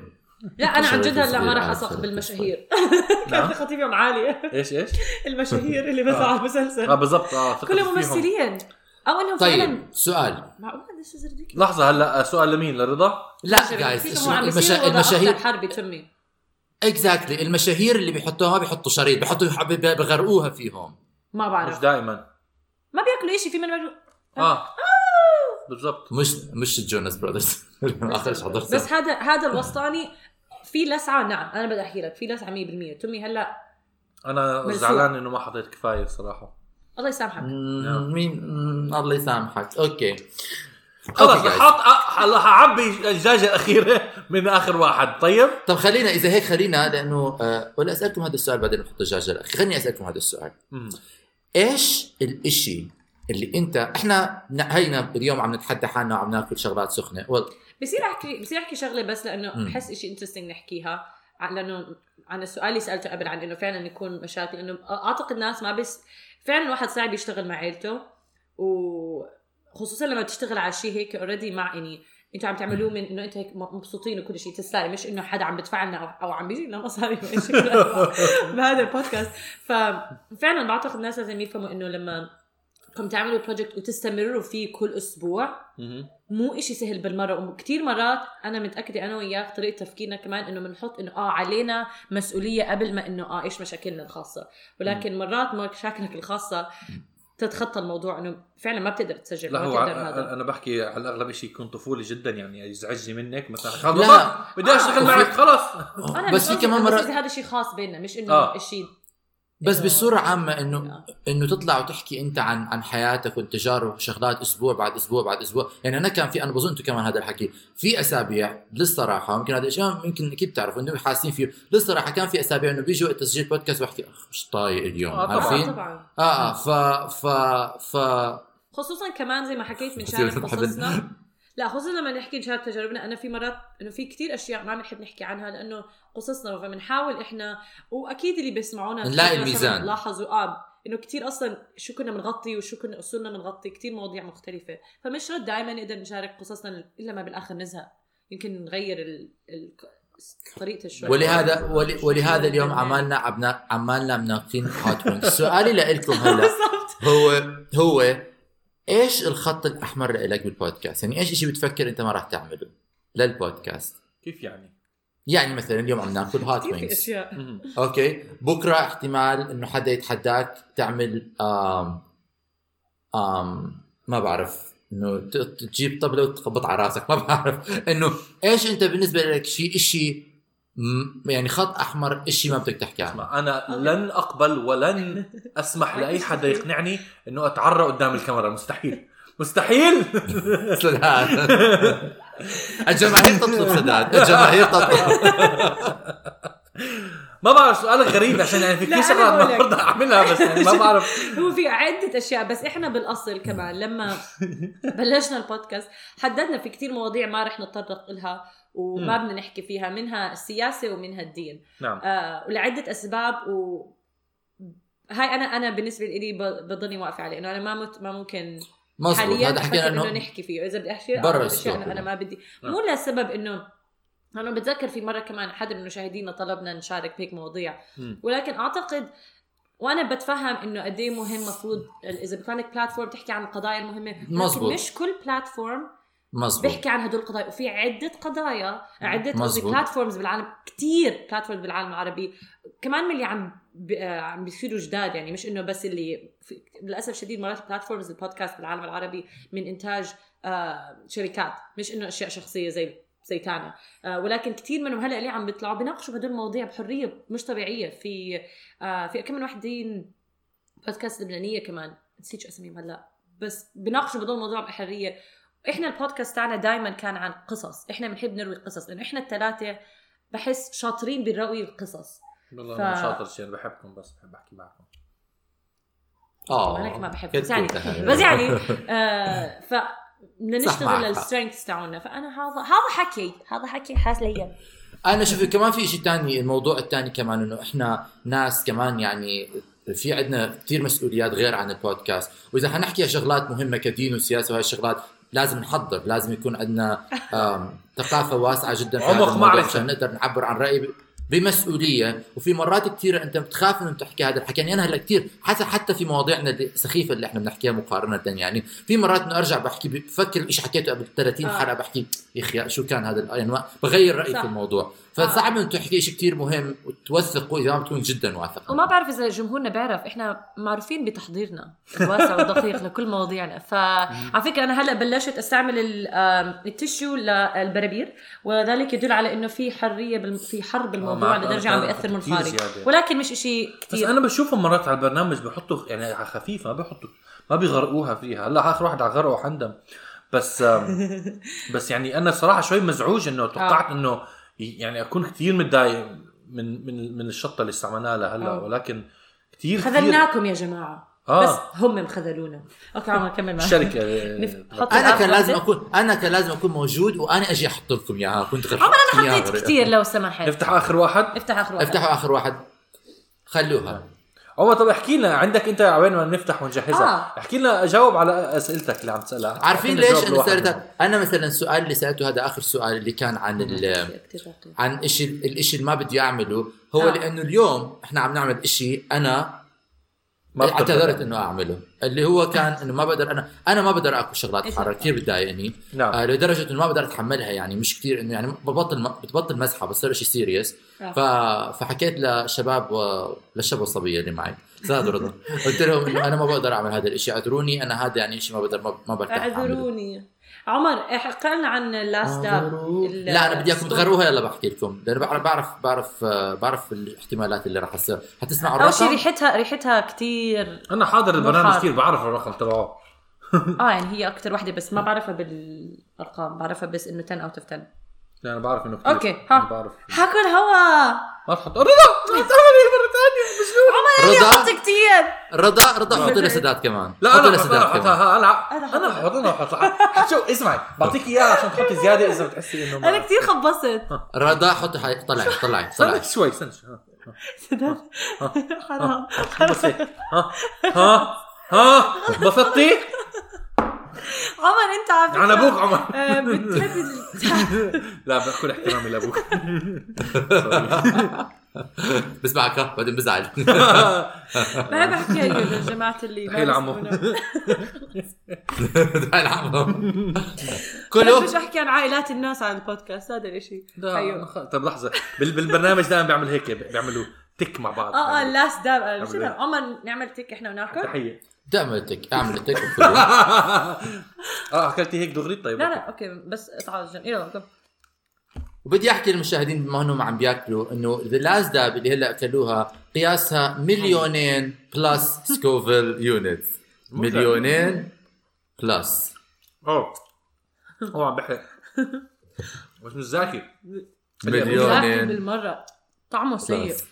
Speaker 4: لا انا عن جد هلا ما
Speaker 2: صغير،
Speaker 4: راح
Speaker 2: آه،
Speaker 4: اثق
Speaker 2: صغير.
Speaker 4: بالمشاهير
Speaker 3: نعم.
Speaker 4: كانت خطيب يوم عاليه
Speaker 3: ايش ايش؟
Speaker 4: المشاهير اللي بس
Speaker 3: آه.
Speaker 4: على
Speaker 3: اه
Speaker 4: المسلسل
Speaker 3: بالضبط اه ثقة
Speaker 4: كلهم
Speaker 3: فيهم.
Speaker 4: ممثلين او انهم فعلا
Speaker 2: طيب سؤال
Speaker 4: معقول this is ridiculous.
Speaker 3: لحظة هلا آه، سؤال لمين لرضا؟
Speaker 2: لا
Speaker 4: عشان
Speaker 2: جايز
Speaker 4: فيهم هو عم يصير
Speaker 2: المشا...
Speaker 4: وضع
Speaker 2: المشاهير
Speaker 4: أخطر حربي تمي
Speaker 2: اكزاكتلي المشاهير اللي بيحطوها ما بيحطوا شريط بيحطوا يحب- بغرقوها فيهم
Speaker 4: ما
Speaker 3: مش
Speaker 4: بعرف
Speaker 3: دائما
Speaker 4: ما بياكلوا شيء في من مجو...
Speaker 3: اه
Speaker 4: آه.
Speaker 3: بالضبط
Speaker 2: مش مش الجوناس براذرز اخر شيء حضرته
Speaker 4: بس هذا هذا الوسطاني في لسعه نعم انا بدي احكي لك في لسعه 100% تمي هلا
Speaker 3: انا
Speaker 4: مرسوم.
Speaker 3: زعلان انه ما حطيت كفاية صراحة
Speaker 4: الله يسامحك
Speaker 2: مم، مين مم، الله يسامحك اوكي
Speaker 3: خلص
Speaker 2: أوكي، guys.
Speaker 3: حط أ- هلا حعبي الدجاجة الأخيرة من آخر واحد طيب؟
Speaker 2: طب خلينا اذا هيك خلينا لانه آه، ولا اسالكم هذا السؤال بعدين بحط الدجاجه الاخير خليني اسالكم هذا السؤال
Speaker 3: مم.
Speaker 2: ايش الاشي اللي انت احنا ن- هينا اليوم عم نتحدى حالنا وعم ناكل شغلات سخنه والله
Speaker 4: بصير احكي بصير احكي شغله بس لانه
Speaker 2: مم.
Speaker 4: بحس شيء انترستنج نحكيها ع- لانه عن السؤال اللي سالته قبل عن انه فعلا يكون مشاكل انه اعتقد الناس ما بس فعلا الواحد صعب يشتغل مع عيلته وخصوصا لما بتشتغل على شيء هيك اوريدي مع يعني انتوا عم تعملوه من انه انت هيك مبسوطين وكل شيء تسلاي مش انه حدا عم بدفع لنا أو- او عم بيجي لنا مصاري وإشي من هالأنواع بهذا البودكاست ففعلا بعتقد الناس لازم يفهموا انه لما بدكم تعملوا بروجكت وتستمروا فيه كل اسبوع
Speaker 3: مم.
Speaker 4: مو إشي سهل بالمرة وكتير مرات أنا متأكدة أنا وياك طريقة تفكيرنا كمان إنه بنحط إنه آه علينا مسؤولية قبل ما إنه آه إيش مشاكلنا الخاصة ولكن مرات مشاكلك الخاصة تتخطى الموضوع إنه فعلا ما بتقدر تسجل
Speaker 3: لا
Speaker 4: ما
Speaker 3: هو
Speaker 4: بتقدر
Speaker 3: ع-
Speaker 4: هذا
Speaker 3: انا بحكي على الاغلب شيء يكون طفولي جدا يعني يزعجني منك مثلا خلص
Speaker 2: لا.
Speaker 3: ما بدي اشتغل
Speaker 2: آه.
Speaker 3: معك خلص
Speaker 4: أنا
Speaker 2: بس في كمان مرات
Speaker 4: هذا شيء خاص بيننا مش إنه
Speaker 3: آه.
Speaker 4: آه. إشي
Speaker 2: بس
Speaker 4: إنه-
Speaker 2: بصوره عامه انه
Speaker 4: آه.
Speaker 2: انه تطلع وتحكي انت عن عن حياتك والتجارب وشغلات اسبوع بعد اسبوع بعد اسبوع يعني انا كان في انا بظن انتم كمان هذا الحكي في اسابيع للصراحه يمكن هذا الشيء يمكن اكيد بتعرفوا انه حاسين فيه للصراحه كان في اسابيع انه بيجي وقت تسجيل بودكاست بحكي اخ مش طايق اليوم
Speaker 3: آه، طبعاً،
Speaker 4: آه
Speaker 2: عارفين
Speaker 4: طبعا
Speaker 2: اه اه ف ف ف
Speaker 4: خصوصا كمان زي ما حكيت من
Speaker 2: كثير
Speaker 4: شارك
Speaker 2: بنحب-
Speaker 4: قصصنا لا خصوصا لما نحكي نشارك تجاربنا انا في مرات انه في كتير اشياء ما بنحب نحكي عنها لانه قصصنا فبنحاول احنا واكيد اللي بيسمعونا
Speaker 2: نلاقي
Speaker 4: كتير
Speaker 2: الميزان.
Speaker 4: مثلاً لاحظوا اه انه كتير اصلا شو كنا بنغطي وشو كنا وصلنا بنغطي كتير مواضيع مختلفه فمش رد دائما نقدر نشارك قصصنا الا ما بالاخر نزهق يمكن نغير ال... ال... طريقه الشغل
Speaker 2: ولهذا ول- ولهذا اليوم عمالنا عبنا عمالنا مناقشين هوت وينجز سؤالي لكم هلا
Speaker 4: بالضبط
Speaker 2: هو هو ايش الخط الاحمر لك بالبودكاست؟ يعني ايش شيء بتفكر انت ما راح تعمله للبودكاست؟
Speaker 3: كيف يعني؟
Speaker 2: يعني مثلا اليوم عم ناكل هوت
Speaker 4: كثير في
Speaker 2: وينجز
Speaker 4: اشياء
Speaker 3: مم.
Speaker 2: اوكي بكره احتمال انه حدا يتحداك تعمل آم آم ما بعرف انه ت- ت- تجيب طبله وتخبط على راسك ما بعرف انه ايش انت بالنسبه لك شيء شيء م- يعني خط احمر شيء ما بدك تحكي عنه
Speaker 3: اسمع انا لن اقبل ولن اسمح لاي حدا يقنعني انه اتعرى قدام الكاميرا مستحيل مستحيل
Speaker 2: سداد الجماهير تطلب سداد الجماهير تطلب
Speaker 3: ما بعرف سؤالك غريب عشان يعني في
Speaker 4: لا،
Speaker 3: كثير
Speaker 4: أنا بقول
Speaker 3: شغلات
Speaker 4: لك.
Speaker 3: ما برضى اعملها بس يعني ما بعرف
Speaker 4: هو في عدة أشياء بس إحنا بالأصل كمان لما بلشنا البودكاست حددنا في كتير مواضيع ما رح نتطرق لها وما بدنا نحكي فيها منها السياسه ومنها الدين
Speaker 3: نعم
Speaker 4: آه ولعده اسباب و هاي انا انا بالنسبه لي بضلني واقفه عليه انه انا ما مت ما ممكن
Speaker 2: مظبوط
Speaker 4: حاليا
Speaker 2: هذا
Speaker 4: بفكر
Speaker 2: حكينا
Speaker 4: انه
Speaker 2: انه
Speaker 4: نحكي فيه اذا بدي احكي
Speaker 2: برا يعني. نعم.
Speaker 4: برا
Speaker 2: السوق
Speaker 4: انا ما بدي مو لسبب انه انا بتذكر في مره كمان حد من مشاهدينا طلبنا نشارك بهيك مواضيع
Speaker 3: مم.
Speaker 4: ولكن اعتقد وانا بتفهم انه قد ايه مهم مفروض ال- اذا بكان لك بلاتفورم تحكي عن القضايا المهمه ولكن
Speaker 2: مزبوط.
Speaker 4: مش كل بلاتفورم
Speaker 2: مظبوط
Speaker 4: بيحكي عن هدول القضايا وفي عده قضايا عده قصدي
Speaker 2: مزبوط.
Speaker 4: بلاتفورمز بالعالم كثير بلاتفورمز بالعالم العربي كمان من اللي عم ب- آه، عم بيصيروا جداد يعني مش انه بس اللي في- للاسف الشديد مرات بلاتفورمز البودكاست بالعالم العربي من انتاج آه، شركات مش انه اشياء شخصيه زي زي تانا آه، ولكن كثير منهم هلا اللي عم بيطلعوا بيناقشوا بهدول المواضيع بحريه مش طبيعيه في آه، في كم من وحدين بودكاست لبنانيه كمان نسيت شو اسميهم هلا بس بيناقشوا بهدول الموضوع بحريه احنا البودكاست تاعنا دائما كان عن قصص احنا بنحب نروي قصص لانه احنا الثلاثه بحس شاطرين بنروي القصص
Speaker 3: والله
Speaker 4: ف-
Speaker 3: انا شاطر شيء أنا بحبكم بس بحب احكي معكم
Speaker 2: اه
Speaker 4: أنا ما بحب-
Speaker 2: كتكوت
Speaker 4: بس يعني-
Speaker 2: هذا.
Speaker 4: بس يعني آه ف بدنا
Speaker 2: صح، معك
Speaker 4: نشتغل
Speaker 2: حق.
Speaker 4: السترينث تاعنا فانا هذا هذا حكي هذا حكي حاس ليا
Speaker 2: انا شوف كمان في شيء ثاني الموضوع الثاني كمان انه احنا ناس كمان يعني في عندنا كثير مسؤوليات غير عن البودكاست واذا حنحكي على شغلات مهمه كدين وسياسه وهي الشغلات لازم نحضر لازم يكون عندنا آم، ثقافه واسعه جدا في هذا
Speaker 3: عمق
Speaker 2: الموضوع
Speaker 3: معرفة.
Speaker 2: عشان نقدر نعبر عن راي ب- بمسؤوليه وفي مرات كثير انت بتخاف انه تحكي هذا الحكي يعني انا هلا كثير حتى حتى في مواضيعنا اللي- السخيفه اللي احنا بنحكيها مقارنه يعني في مرات انه ارجع بحكي بفكر ايش حكيته قبل 30
Speaker 4: آه.
Speaker 2: حلقه بحكي يا اخي شو كان هذا الانواع بغير رايي
Speaker 4: صح.
Speaker 2: في الموضوع فصعب انه تحكي شيء كثير مهم وتوثقه اذا ما بتكون جدا واثق
Speaker 4: وما بعرف اذا جمهورنا بيعرف احنا معروفين بتحضيرنا الواسع والدقيق لكل مواضيعنا فعلى فكره انا هلا بلشت استعمل ال- آم، التشيو للبرابير وذلك يدل على انه في حريه بالم- في حر بالموضوع
Speaker 3: معك.
Speaker 4: لدرجه
Speaker 3: أنا
Speaker 4: عم بياثر
Speaker 3: كتير
Speaker 4: منفعلي
Speaker 3: زيادة.
Speaker 4: ولكن مش إشي
Speaker 3: بس
Speaker 4: كثير
Speaker 3: انا بشوفهم مرات على البرنامج بحطوا يعني على خفيف ما بحطوا ما بيغرقوها فيها هلا اخر واحد على غرقه حندم بس آم، بس يعني انا صراحه شوي مزعوج
Speaker 4: آه.
Speaker 3: انه توقعت انه ي- يعني اكون كثير متضايق من من من الشطه اللي استعملناها لهلا
Speaker 4: آه.
Speaker 3: ولكن كثير كثير
Speaker 4: خذلناكم يا جماعه
Speaker 3: آه.
Speaker 4: بس هم مخذلونا اوكي عمر كمل معك
Speaker 3: الشركه
Speaker 4: نف- حط-
Speaker 2: انا
Speaker 4: أعرف
Speaker 2: كان لازم
Speaker 4: واحدة.
Speaker 2: اكون انا كان لازم اكون موجود وانا اجي احط لكم اياها كنت غير
Speaker 4: عمر انا
Speaker 2: إياها
Speaker 4: حطيت
Speaker 2: غير-
Speaker 4: كثير لو سمحت
Speaker 3: نفتح اخر واحد
Speaker 4: افتح اخر واحد
Speaker 2: افتحوا اخر واحد خلوها
Speaker 3: عمر طب احكي لنا عندك انت عوين ما نفتح ونجهزها
Speaker 4: آه.
Speaker 3: احكي لنا جاوب على اسئلتك اللي عم تسالها
Speaker 2: عارفين
Speaker 3: أعطينا
Speaker 2: ليش
Speaker 3: جواب
Speaker 2: انا
Speaker 3: لواحد
Speaker 2: سالتها انا مثلا السؤال اللي سالته هذا اخر سؤال اللي كان عن ال
Speaker 4: كتير دقيق.
Speaker 2: عن إشي الإشي اللي ما بدي أعمله هو
Speaker 4: آه.
Speaker 2: لأنه اليوم إحنا عم نعمل إشي أنا
Speaker 3: ما بتقدر.
Speaker 2: اعتذرت انه اعمله اللي هو كان انه ما بقدر انا انا ما بقدر اكل شغلات حاره كثير بتضايقني
Speaker 3: نعم.
Speaker 2: آه لدرجه انه ما بقدر اتحملها يعني مش كثير انه يعني ببطل بتبطل مزحه بصير شيء سيريس
Speaker 4: آه.
Speaker 2: ف... فحكيت لشباب و... للشباب والصبيه اللي معي زاد رضا قلت لهم انه انا ما بقدر اعمل هذا الشيء اعذروني انا هذا يعني شيء ما بقدر ما, ما برتاح أعمله.
Speaker 4: اعذروني عمر احكي لنا عن اللاست داب
Speaker 2: اعذروني. لا انا بدي اياكم تغروها يلا بحكي لكم لانه بعرف بعرف بعرف آه، بعرف الاحتمالات اللي راح تصير حتسمعوا
Speaker 4: اول شيء
Speaker 2: الرقم
Speaker 4: ريحتها ريحتها كثير
Speaker 3: انا حاضر البرنامج
Speaker 4: حاضر.
Speaker 3: كثير بعرف الرقم تبعه
Speaker 4: اه يعني هي اكثر وحده بس ما بعرفها بالارقام بعرفها بس انه 10 اوت اوف 10
Speaker 3: لا انا يعني بعرف انه كثير
Speaker 4: اوكي
Speaker 3: أنا
Speaker 4: ها
Speaker 3: بعرف
Speaker 4: حكوا الهوا
Speaker 3: ما تحط رضا ما تعملي مره ثانيه
Speaker 2: رضا؟
Speaker 4: عمر انا كثير
Speaker 2: رضا رضا حط لنا سداد كمان
Speaker 3: لا
Speaker 2: حط
Speaker 3: انا
Speaker 2: لنا
Speaker 3: بحط- انا
Speaker 2: سداد كمان
Speaker 3: بحطها ها
Speaker 4: أنا
Speaker 3: انا انا بحط انا بحطها شو اسمعي بعطيك اياها عشان تحطي زياده اذا بتحسي انه ما-
Speaker 4: انا كثير خبصت
Speaker 2: رضا حط حي- طلعي طلعي
Speaker 3: استنى
Speaker 2: طلعي
Speaker 3: شوي استنى شوي ها،
Speaker 4: سداد حرام
Speaker 3: آه. بس إيه. هيك. ها ها ها بسطتي
Speaker 4: عمر انت على فكره
Speaker 3: عن ابوك عمر
Speaker 4: آه، بتحب ال-
Speaker 3: لا بكل احترامي لابوك
Speaker 2: بسمعك ها بعدين بزعل
Speaker 4: بحب احكي هيك للجماعه اللي ما
Speaker 3: تخيل عمو.
Speaker 4: بيسمعونا.
Speaker 2: تعال عمو.
Speaker 4: انا
Speaker 2: كله
Speaker 4: مش احكي عن عائلات الناس على البودكاست هذا الاشي
Speaker 3: لا،
Speaker 4: أيوه.
Speaker 3: خ- طب لحظه طيب، بال- بالبرنامج دائما بيعمل هيك بيعملوا تك مع بعض
Speaker 4: اه اه اللاست داب
Speaker 3: عمل
Speaker 4: شو
Speaker 3: إيه؟
Speaker 4: ده؟ عمر نعمل تيك احنا وناكل
Speaker 3: تحيه
Speaker 2: تعمل تك اعمل تك
Speaker 3: اه اكلتي هيك دغري طيب
Speaker 4: لا لا اوكي بس اطلع على الجنب يلا قم.
Speaker 2: وبدي احكي للمشاهدين بما انهم عم بياكلوا انه ذا لاست داب اللي هلا اكلوها قياسها مليونين بلس سكوفل يونتس مليونين بلس
Speaker 3: اوه هو عم بحرق بس مش ذكي
Speaker 2: مليونين.
Speaker 4: لكن بالمره طعمه سيء
Speaker 2: بلس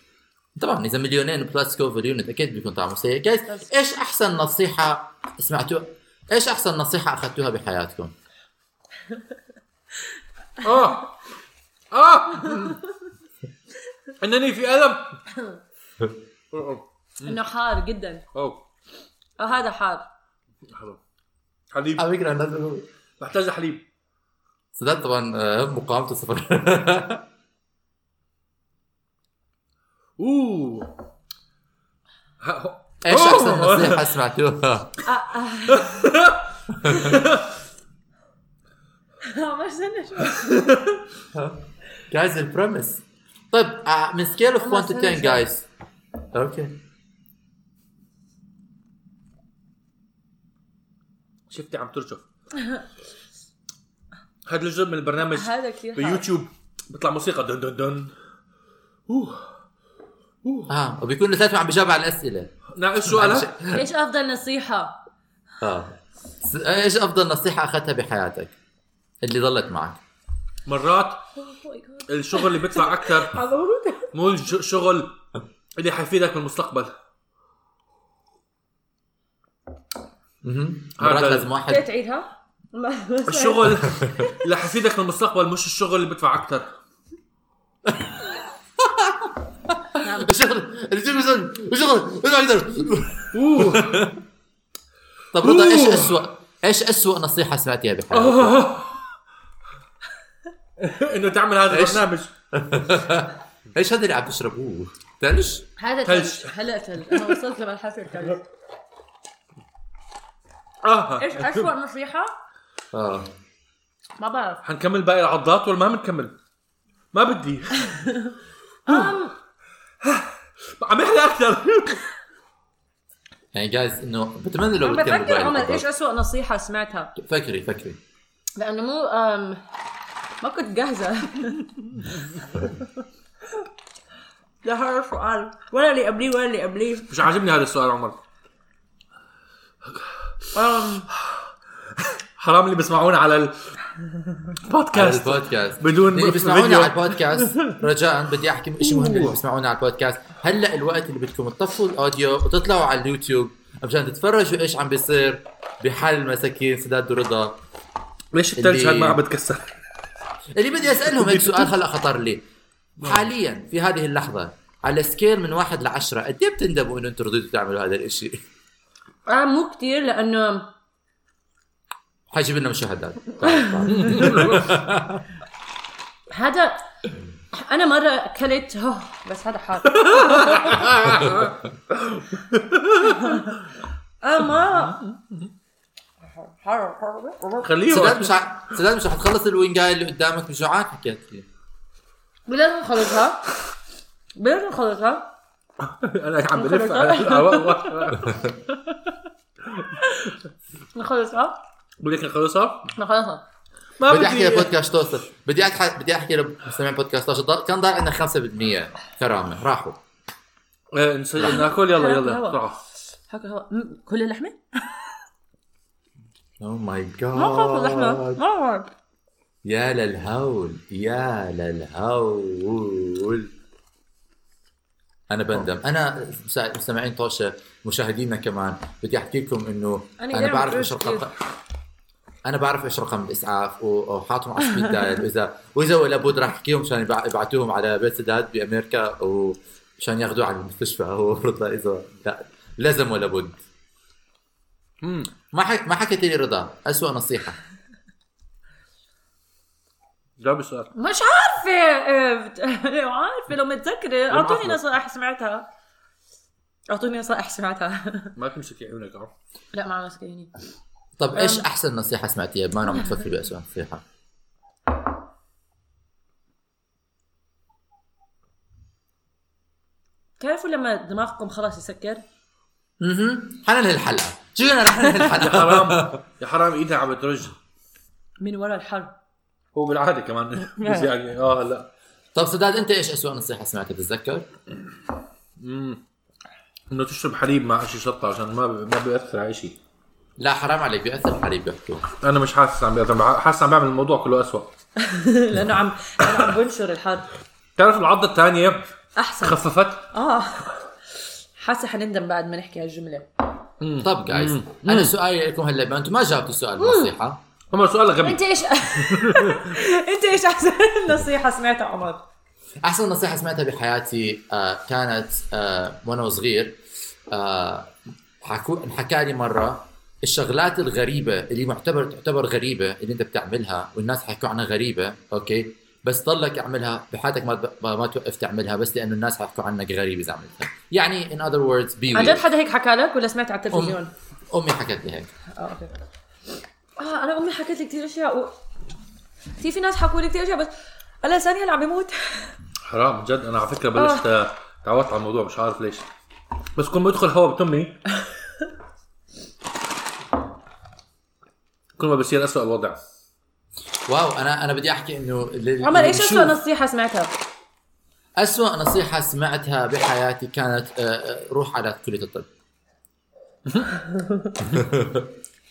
Speaker 2: طبعا اذا مليونين بلس كوفر يونت اكيد بيكون طعمه سيء جايز ايش احسن نصيحه سمعتوها ايش احسن نصيحه اخذتوها بحياتكم
Speaker 3: اه اه انني في الم
Speaker 4: انه حار جدا
Speaker 3: اوه
Speaker 4: اه هذا حار
Speaker 3: حلو حليب
Speaker 2: على فكره لازم
Speaker 3: بحتاج حليب
Speaker 2: صدقت طبعا آه، مقاومته صفر
Speaker 3: اوه ها- هو-
Speaker 2: ايش
Speaker 3: أوه.
Speaker 2: احسن نصيحه سمعتوها؟
Speaker 4: آه، آه. آه، ما استنى شوي
Speaker 2: جايز البريمس طيب آه، من سكيل اوف 1 تو
Speaker 4: أنا
Speaker 2: 10
Speaker 4: سوري.
Speaker 2: جايز اوكي
Speaker 3: شفتي عم ترجف هذا الجزء من البرنامج
Speaker 4: هذا كثير حار
Speaker 3: بيوتيوب بيطلع موسيقى دن دن دن اوه
Speaker 2: اه وبيكون الثلاث عم بيجاوب على الاسئله
Speaker 3: نعم ايش سؤالك؟
Speaker 4: ايش افضل نصيحه
Speaker 2: اه س- ايش افضل نصيحه اخذتها بحياتك؟ اللي ظلت معك
Speaker 3: مرات الشغل اللي بيدفع اكثر مو الشغل اللي حيفيدك بالمستقبل
Speaker 2: مهم.
Speaker 3: هذا-
Speaker 2: مرات لازم واحد
Speaker 4: بدك تعيدها؟ ما-
Speaker 3: الشغل اللي حيفيدك بالمستقبل مش الشغل اللي بيدفع اكثر
Speaker 4: نعم.
Speaker 2: شغل شغل شغل ما أقدر.
Speaker 3: اوه
Speaker 2: طب رضا ايش
Speaker 3: أوه.
Speaker 2: اسوء ايش اسوء نصيحه سمعتيها بحياتك؟
Speaker 3: آه. انه تعمل هذا
Speaker 2: إيش؟
Speaker 3: البرنامج
Speaker 2: ايش هذا اللي عم تشربوه؟ ثلج؟
Speaker 4: هذا
Speaker 3: ثلج.
Speaker 4: ثلج هلا ثلج انا وصلت لمرحله الثلج
Speaker 3: اه
Speaker 4: ايش اسوء نصيحه؟
Speaker 2: اه
Speaker 4: ما بعرف
Speaker 3: حنكمل باقي العضلات ولا ما بنكمل؟ ما بدي
Speaker 4: أم،
Speaker 3: عم يحلى اكثر
Speaker 2: يعني جايز انه بتمنى لو
Speaker 4: عم
Speaker 2: بتكمل
Speaker 4: بفكر
Speaker 2: باقي
Speaker 4: عمر ايش
Speaker 2: الخطوات.
Speaker 4: اسوء نصيحه سمعتها
Speaker 2: فكري فكري
Speaker 4: لانه مو أم ما كنت جاهزه لا هذا سؤال ولا اللي قبليه ولا اللي قبليه
Speaker 3: مش عاجبني هذا السؤال عمر
Speaker 4: أم،
Speaker 3: حرام اللي بيسمعونا على
Speaker 2: على
Speaker 3: البودكاست
Speaker 2: البودكاست
Speaker 3: بدون
Speaker 2: اللي بيسمعونا
Speaker 3: فيديو.
Speaker 2: على البودكاست رجاء بدي احكي شيء مهم اللي بيسمعونا على البودكاست هلا الوقت اللي بدكم تطفوا الاوديو وتطلعوا على اليوتيوب عشان تتفرجوا ايش عم بيصير بحال مساكين سداد ورضا
Speaker 3: ليش الثلج
Speaker 2: اللي-
Speaker 3: هالما عم بتكسر؟
Speaker 2: اللي بدي اسالهم هيك سؤال هلا خطر لي
Speaker 3: نعم.
Speaker 2: حاليا في هذه اللحظه على سكيل من واحد لعشرة قد ايه بتندموا انه انتم رضيتوا تعملوا هذا الاشي؟
Speaker 4: آه مو كثير لانه
Speaker 2: حجيب لنا مشاهدات تعال، تعال.
Speaker 4: هذا انا مره اكلت هو بس هذا حار آه ما حار حار
Speaker 3: خليه
Speaker 2: سداد مش ع... سداد مش رح تخلص الوينجاي اللي قدامك مش جوعان حكيت لي
Speaker 4: لازم نخلصها لازم نخلصها
Speaker 3: انا عم بلف آه،
Speaker 4: خلص.
Speaker 3: على-
Speaker 4: نخلصها
Speaker 3: بدك نخلصها؟
Speaker 4: نخلصها
Speaker 3: ما
Speaker 2: بدي احكي لبودكاست توصل بدي أتح... بدي احكي لمستمعين بودكاست توصل ضل- كان ضايل عندنا 5% كرامه راحوا
Speaker 3: إيه، نس- ناكل يلا يلا
Speaker 4: هوا.
Speaker 3: بسرعه
Speaker 4: هاكل هو مم، كل اللحمه؟
Speaker 2: او ماي
Speaker 4: ما خاف اللحمه
Speaker 2: جاد
Speaker 4: ما خاف.
Speaker 2: يا للهول يا للهول انا بندم انا مسا- مستمعين طوشه مشاهدينا كمان بدي احكي لكم انه
Speaker 4: أنا
Speaker 2: انا
Speaker 4: غير
Speaker 2: بعرف ايش
Speaker 4: متأكد.
Speaker 2: رقم انا بعرف ايش رقم الاسعاف و- وحاطهم على سبيد دايل واذا واذا ولا بد راح احكيهم عشان يبع- يبعتوهم على بيت سداد بامريكا وعشان ياخذوه على المستشفى هو رضا اذا لا لازم ولا بد
Speaker 3: مم.
Speaker 2: ما حك... ما حكيت لي رضا اسوء نصيحه
Speaker 3: جاوب السؤال
Speaker 4: مش عارفه إيه، بت- لو عارفه لو متذكره اعطوني
Speaker 3: عقلك.
Speaker 4: نصائح سمعتها اعطوني نصائح سمعتها
Speaker 3: ما تمسكي عيونك عم
Speaker 4: لا ما ماسكه عيني
Speaker 2: طب ايش
Speaker 4: أم.
Speaker 2: احسن نصيحه سمعتيها بما انه عم تفكري باسوء نصيحه
Speaker 4: بتعرفوا لما دماغكم خلاص يسكر
Speaker 2: اها حننهي الحلقه جينا رح ننهي
Speaker 3: يا
Speaker 2: الحلقه
Speaker 3: حرام يا حرام ايدها عم بترج
Speaker 4: من ورا الحر
Speaker 3: هو بالعاده كمان بس يعني اه لا
Speaker 2: طب سداد انت ايش اسوء نصيحه سمعتها بتتذكر؟
Speaker 3: انه تشرب حليب مع شيء شطه عشان ما ب- ما بياثر على شيء
Speaker 2: لا حرام عليك بياثر الحليب بيحكوا
Speaker 3: انا مش حاسس عم بياثر حاسس عم بعمل الموضوع كله أسوأ
Speaker 4: لانه عم أنا عم بنشر الحر
Speaker 3: تعرف العضه الثانيه
Speaker 4: احسن
Speaker 3: خففت
Speaker 4: اه حاسه حنندم بعد ما نحكي هالجمله
Speaker 2: طب جايز انا سؤالي لكم هلا ما انتم ما جاوبتوا سؤال النصيحه
Speaker 3: عمر سؤال غبي
Speaker 4: انت ايش انت ايش احسن نصيحه سمعتها عمر؟
Speaker 2: احسن نصيحه سمعتها بحياتي آه، كانت آه، وانا صغير آه، حكو حكى لي مره الشغلات الغريبه اللي معتبر تعتبر غريبه اللي انت بتعملها والناس حيحكوا عنها غريبه اوكي بس ضلك اعملها بحياتك ما تب- ما توقف تعملها بس لانه الناس حيحكوا عنك غريب اذا عملتها يعني ان اذر ووردز بي
Speaker 4: عن جد حدا هيك حكى لك ولا سمعت على التلفزيون؟
Speaker 2: امي حكت لي هيك
Speaker 4: اه اوكي اه انا امي حكت لي كثير اشياء و... كثير في ناس حكوا لي كثير اشياء بس هلا ثانيه اللي عم بيموت
Speaker 3: حرام عن جد انا على فكره بلشت تعودت على الموضوع مش عارف ليش بس كل ما بدخل هواء بتمي كل ما بصير اسوء الوضع
Speaker 2: واو انا انا بدي احكي انه لل-
Speaker 4: عمر ايش
Speaker 2: شوف.
Speaker 4: اسوء نصيحه سمعتها؟
Speaker 2: أسوأ نصيحة سمعتها بحياتي كانت آه، آه، روح على كلية الطب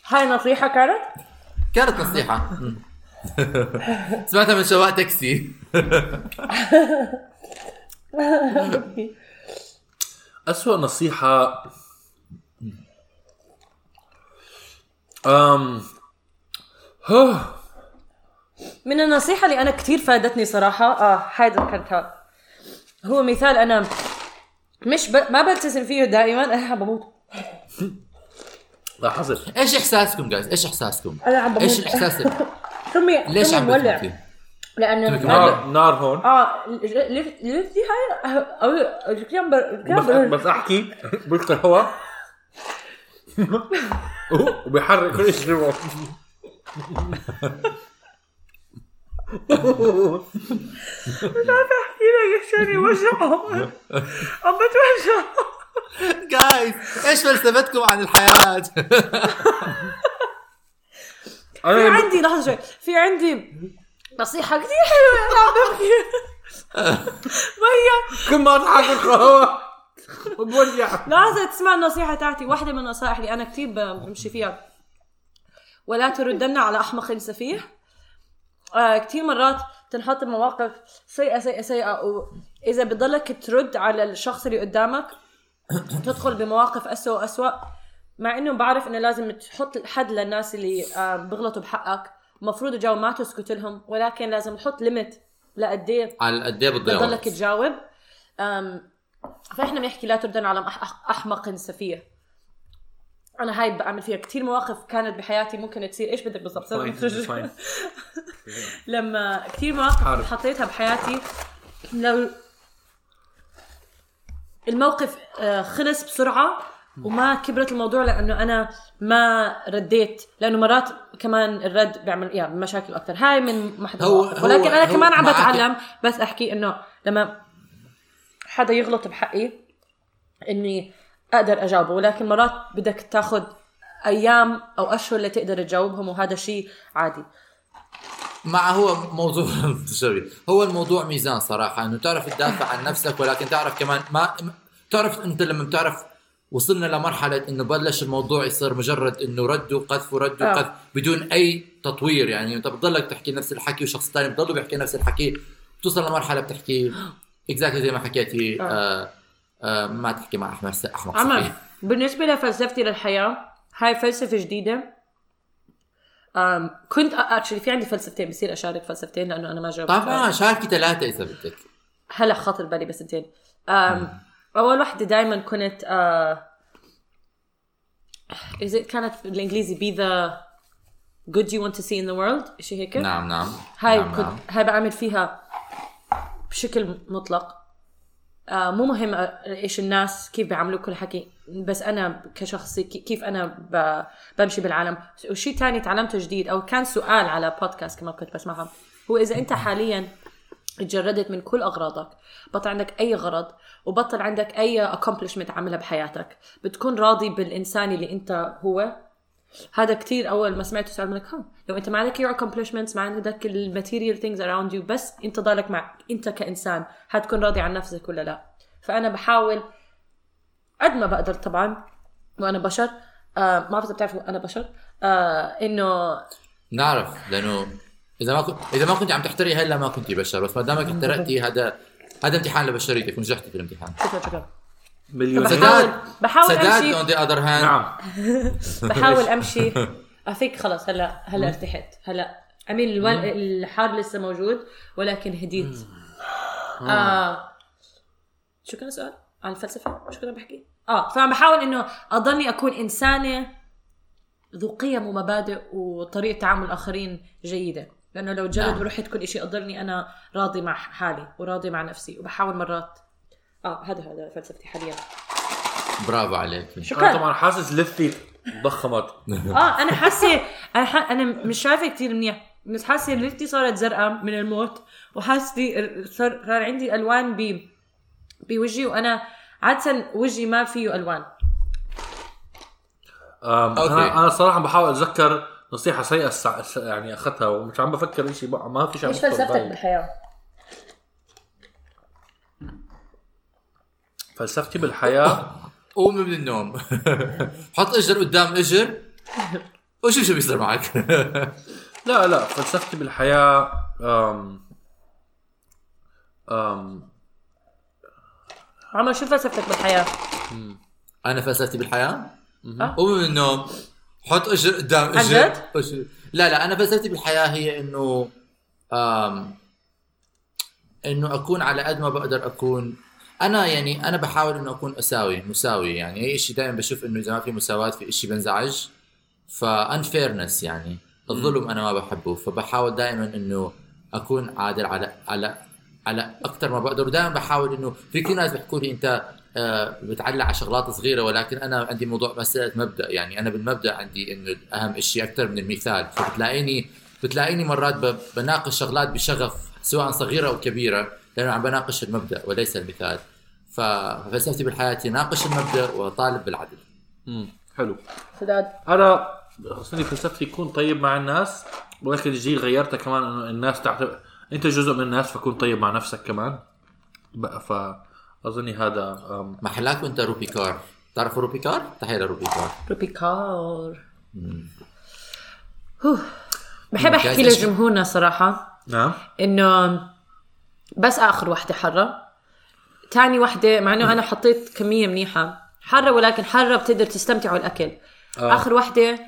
Speaker 4: هاي نصيحه كانت؟
Speaker 2: كانت نصيحة مم. سمعتها من سواق تاكسي
Speaker 3: أسوأ نصيحة أم هو
Speaker 4: من النصيحه اللي انا كثير فادتني صراحه اه هاي ذكرتها هو مثال انا مش ب... ما بلتزم فيه دائما انا عم بموت
Speaker 3: لاحظت
Speaker 2: ايش احساسكم جايز ايش احساسكم
Speaker 4: أنا عم بموت.
Speaker 2: ايش الاحساس اللي-
Speaker 4: تمي
Speaker 2: ليش
Speaker 4: تمي
Speaker 2: عم
Speaker 4: مولع
Speaker 2: بتموتي
Speaker 4: لانه
Speaker 3: نار نار هون
Speaker 4: اه ليش ليش دي هاي او الكلام بر... الكلام بر-
Speaker 3: بس, بس احكي بدخل هواء وبيحرق كل شيء جوا.
Speaker 4: كثير يشتري وجعه عم بتوجع
Speaker 2: جايز ايش فلسفتكم عن الحياة
Speaker 4: في
Speaker 3: انا
Speaker 4: عندي لحظه شوي في عندي نصيحة كثير حلوة أنا عم بحكي وهي
Speaker 3: كل ما اضحك بدخل هواء وبولع
Speaker 4: لحظة تسمع النصيحة تاعتي واحدة من النصائح اللي أنا كثير بمشي فيها ولا تردن على أحمق سفيه آه كثير مرات تنحط بمواقف سيئة سيئة سيئة وإذا بضلك ترد على الشخص اللي قدامك تدخل بمواقف أسوأ وأسوأ مع إنه بعرف إنه لازم تحط حد للناس اللي آه بغلطوا بحقك المفروض الجو ما تسكت لهم ولكن لازم تحط ليميت لقد ايه
Speaker 2: على قد ايه بتضيعوا
Speaker 4: بضلك تجاوب أم، فاحنا بنحكي لا تردن على أح- أح- احمق سفيه انا هاي بعمل فيها كثير مواقف كانت بحياتي ممكن تصير ايش بدك بالضبط طيب.
Speaker 3: فاين.
Speaker 4: لما كثير مواقف
Speaker 3: عارف.
Speaker 4: حطيتها بحياتي لو الموقف آه، خلص بسرعة وما كبرت الموضوع لأنه أنا ما رديت لأنه مرات كمان الرد بيعمل يعني مشاكل أكثر هاي من ما حدا
Speaker 2: هو-
Speaker 4: مواقف. ولكن
Speaker 2: هو-
Speaker 4: أنا
Speaker 2: هو
Speaker 4: كمان عم
Speaker 2: معك.
Speaker 4: بتعلم بس أحكي إنه لما حدا يغلط بحقي إني أقدر أجاوبه ولكن مرات بدك تاخذ أيام أو أشهر لتقدر تجاوبهم وهذا شيء عادي
Speaker 2: مع هو موضوع سوري هو الموضوع ميزان صراحه انه تعرف تدافع عن نفسك ولكن تعرف كمان ما تعرف انت لما بتعرف وصلنا لمرحله انه بلش الموضوع يصير مجرد انه رد وقذف ورد
Speaker 4: آه.
Speaker 2: وقذف بدون اي تطوير يعني انت بتضلك تحكي نفس الحكي وشخص ثاني بضله بيحكي نفس الحكي بتوصل لمرحله بتحكي اكزاكتلي زي ما حكيتي
Speaker 4: آه.
Speaker 2: آه آه ما تحكي مع احمد احمد
Speaker 4: عمر بالنسبة لفلسفتي للحياة هاي فلسفة جديدة أم كنت اكشلي في عندي فلسفتين بصير اشارك فلسفتين لانه انا ما جاوبت
Speaker 2: طبعا شاركي ثلاثه اذا بدك
Speaker 4: هلا خاطر بالي بسنتين أم اول وحده دائما كنت آه، is it كانت بالانجليزي be the good you want to see in the world شيء هيك
Speaker 2: نعم نعم
Speaker 4: هاي
Speaker 2: نعم،
Speaker 4: كنت
Speaker 2: نعم.
Speaker 4: هاي بعمل فيها بشكل مطلق آه مو مهم آه، ايش الناس كيف بيعملوا كل حكي بس انا كشخصي كي- كيف انا ب- بمشي بالعالم وشيء تاني تعلمته جديد او كان سؤال على بودكاست كمان كنت بسمعها هو اذا انت حاليا تجردت من كل اغراضك بطل عندك اي غرض وبطل عندك اي accomplishment عاملها بحياتك بتكون راضي بالانسان اللي انت هو هذا كتير اول ما سمعته سؤال منك ها لو انت ما عندك your accomplishments ما عندك الماتيريال things around you بس انت ضالك مع انت كانسان حتكون راضي عن نفسك ولا لا فانا بحاول قد ما بقدر طبعا وانا بشر آه ما بعرف إذا بتعرفوا انا بشر آه انه
Speaker 2: نعرف لانه اذا ما كنت اذا ما كنت عم تحتري هلا ما كنت بشر بس ما دامك احترقتي هذا هذا امتحان لبشريتك ونجحتي في الامتحان
Speaker 4: شكرا شكرا
Speaker 3: مليون
Speaker 4: طيب. بحاول بحاول
Speaker 2: سداد اون
Speaker 4: امشي
Speaker 2: ذا اذر هاند
Speaker 3: نعم
Speaker 4: بحاول امشي اثيك خلص هلا هلا ارتحت هلا امين الول... الحار لسه موجود ولكن هديت آه. شو كان السؤال؟ عن الفلسفه؟ شو كنا بحكي؟ اه فعم بحاول انه اضلني اكون انسانه ذو قيم ومبادئ وطريقه تعامل الاخرين جيده لانه لو جلد
Speaker 2: نعم.
Speaker 4: ورحت كل شيء اضرني انا راضي مع حالي وراضي مع نفسي وبحاول مرات اه هذا هذا فلسفتي حاليا
Speaker 2: برافو عليك
Speaker 3: انا
Speaker 4: شكرا
Speaker 3: طبعا حاسس لثي ضخمت
Speaker 4: اه انا حاسه انا ح... انا مش شايفه كثير منيح بس حاسه ليفتي صارت زرقاء من الموت وحاسه صار صار عندي الوان ب بوجهي وانا عاده وجهي ما فيه الوان
Speaker 3: أم،
Speaker 2: أوكي.
Speaker 3: انا انا صراحه بحاول اتذكر نصيحه سيئه السع- الس- يعني اخذتها ومش عم بفكر شيء بقى ما في شيء عم
Speaker 4: ايش
Speaker 3: بخطر
Speaker 4: فلسفتك
Speaker 3: ببالي.
Speaker 4: بالحياه؟
Speaker 3: فلسفتي بالحياه
Speaker 2: قوم من النوم حط اجر قدام اجر وشوف شو بيصير معك
Speaker 3: لا لا فلسفتي بالحياه أم أم
Speaker 4: عمر شو فلسفتك بالحياه؟
Speaker 2: انا فلسفتي بالحياه
Speaker 4: آه.
Speaker 2: قوم من النوم حط اجر قدام
Speaker 4: عن
Speaker 2: اجر
Speaker 4: جد؟
Speaker 2: وشو- لا لا انا فلسفتي بالحياه هي انه آم، انه اكون على قد ما بقدر اكون انا يعني انا بحاول انه اكون اساوي مساوي يعني اي شيء دائما بشوف انه اذا ما في مساواه في شيء بنزعج فانفيرنس يعني الظلم انا ما بحبه فبحاول دائما انه اكون عادل على على على اكثر ما بقدر ودائما بحاول انه في كثير ناس بيحكوا لي انت آه، بتعلق على شغلات صغيره ولكن انا عندي موضوع مساله مبدا يعني انا بالمبدا عندي انه اهم شيء اكثر من المثال فبتلاقيني بتلاقيني مرات ب- بناقش شغلات بشغف سواء صغيره او كبيره لانه عم بناقش المبدا وليس المثال ف- ففلسفتي بالحياه هي ناقش المبدا وطالب بالعدل
Speaker 3: أم، حلو
Speaker 4: خداد
Speaker 3: انا خصني فلسفتي يكون طيب مع الناس ولكن الجيل غيرتها كمان انه الناس تعتبر انت جزء من الناس فكون طيب مع نفسك كمان بقى ف اظني هذا أم،
Speaker 2: محلاك وانت روبيكار تعرفوا روبيكار؟ تحيه لروبيكار
Speaker 4: روبيكار هوه. بحب
Speaker 2: ممتاز.
Speaker 4: احكي لجمهورنا صراحه
Speaker 3: نعم
Speaker 4: انه بس اخر وحده حره تاني وحده مع انه انا حطيت كميه منيحه حره ولكن حره بتقدر تستمتعوا الاكل آه. اخر وحده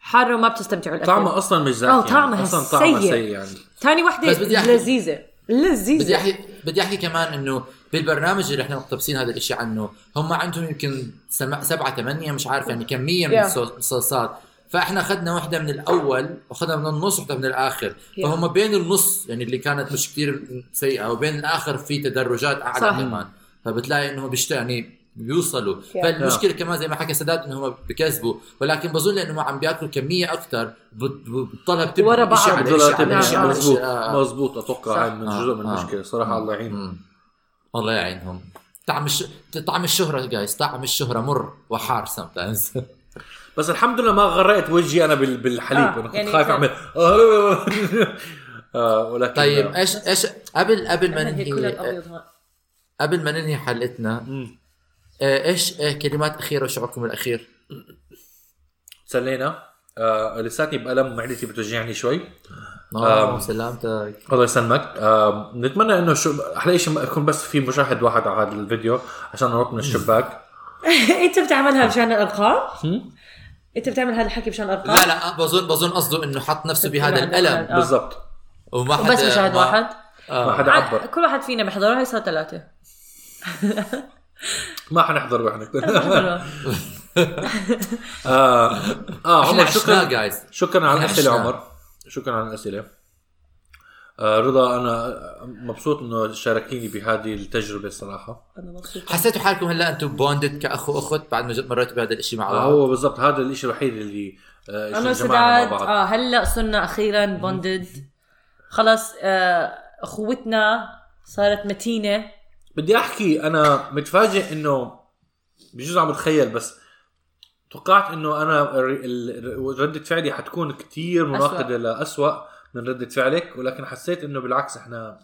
Speaker 4: حره وما بتستمتعوا الاكل
Speaker 3: طعمه اصلا مش زاكي
Speaker 4: آه، طعمها
Speaker 3: يعني. اصلا طعمه
Speaker 4: سيء.
Speaker 3: سيء يعني
Speaker 4: تاني وحده
Speaker 2: بس بدي أحكي-
Speaker 4: لذيذه
Speaker 2: بدي
Speaker 4: لذيذه
Speaker 2: احكي بدي احكي كمان انه بالبرنامج اللي احنا مقتبسين هذا الشيء عنه هم عندهم يمكن سم- سبعة ثمانية مش عارف يعني كمية من
Speaker 4: Yeah.
Speaker 2: الصو- الصلصات فاحنا اخذنا واحدة من الاول واخذنا من النص واحدة من الاخر
Speaker 4: Yeah.
Speaker 2: فهم بين النص يعني اللي كانت مش كثير سيئة وبين الاخر في تدرجات
Speaker 4: صح.
Speaker 2: اعلى كمان فبتلاقي انهم بيشت يعني بيوصلوا
Speaker 4: Yeah.
Speaker 2: فالمشكله كمان زي ما حكى سداد انهم بكذبوا ولكن بظن انهم عم بياكلوا كميه اكثر بتضلها بتبني
Speaker 4: ورا بعض.
Speaker 2: إشي على إشي على
Speaker 4: بتبني.
Speaker 2: إشي على إشي.
Speaker 3: مزبوط
Speaker 2: يعني؟ آه.
Speaker 3: مزبوط اتوقع
Speaker 4: صح.
Speaker 3: هاي من
Speaker 2: آه،
Speaker 3: جزء من
Speaker 2: آه.
Speaker 3: المشكله صراحه الله يعين
Speaker 2: مم. الله يعينهم طعم الش... طعم الشهرة جايز طعم الشهرة مر وحار sometimes
Speaker 3: بس الحمد لله ما غرقت وجهي انا بال- بالحليب
Speaker 4: آه،
Speaker 3: انا كنت
Speaker 4: يعني
Speaker 3: خايف
Speaker 4: كان-
Speaker 3: اعمل آه، آه، ولكن
Speaker 2: طيب
Speaker 3: آه،
Speaker 2: ايش ايش قبل قبل ما
Speaker 4: هي كلها
Speaker 2: ننهي
Speaker 4: الابيض هون
Speaker 2: قبل ما ننهي حلقتنا
Speaker 3: مم.
Speaker 2: آه، ايش آه، كلمات اخيرة وشعوركم الاخير
Speaker 3: سلينا آه لساتني بألم معدتي بتوجعني شوي
Speaker 2: آه
Speaker 3: آم.
Speaker 2: سلامتك
Speaker 3: الله يسلمك آه نتمنى انه شو احلى شيء ما يكون بس في مشاهد واحد على هذا الفيديو عشان ننط من الشباك
Speaker 4: انت بتعملها مشان الارقام؟ انت بتعمل هذا الحكي مشان الارقام؟
Speaker 2: لا لا آه، بظن بظن قصده انه حط نفسه بهذا الالم
Speaker 4: آه.
Speaker 3: بالضبط
Speaker 2: وما حدا
Speaker 4: بس مشاهد
Speaker 2: ما-
Speaker 4: واحد
Speaker 3: ما حدا عبر
Speaker 4: كل واحد فينا بحضره هي صار ثلاثه
Speaker 3: ما حنحضر واحنا
Speaker 4: بحضره.
Speaker 3: اه اه
Speaker 2: احنا
Speaker 3: عمر
Speaker 2: عشناه
Speaker 3: شكرا
Speaker 2: جايز
Speaker 3: شكرا على
Speaker 2: إحنا
Speaker 3: الاسئله
Speaker 2: عشناه.
Speaker 3: عمر شكرا على الاسئله آه رضا انا مبسوط انه شاركيني بهذه التجربه صراحه
Speaker 4: أنا مبسوطة.
Speaker 2: حسيتوا حالكم هلا انتم بوندد كاخو واخت بعد ما جد- مريتوا بهذا الشيء مع
Speaker 3: آه
Speaker 2: بعض
Speaker 3: هو بالضبط هذا الشيء الوحيد اللي آه إشي
Speaker 4: انا
Speaker 3: جمعنا
Speaker 4: وسداد اه هلا صرنا اخيرا بوندد خلص آه اخوتنا صارت متينه
Speaker 3: بدي احكي انا متفاجئ انه بجوز عم بتخيل بس توقعت انه انا الر- ال- ردة فعلي حتكون كتير مناقضة لأسوأ من ردة فعلك ولكن حسيت انه بالعكس احنا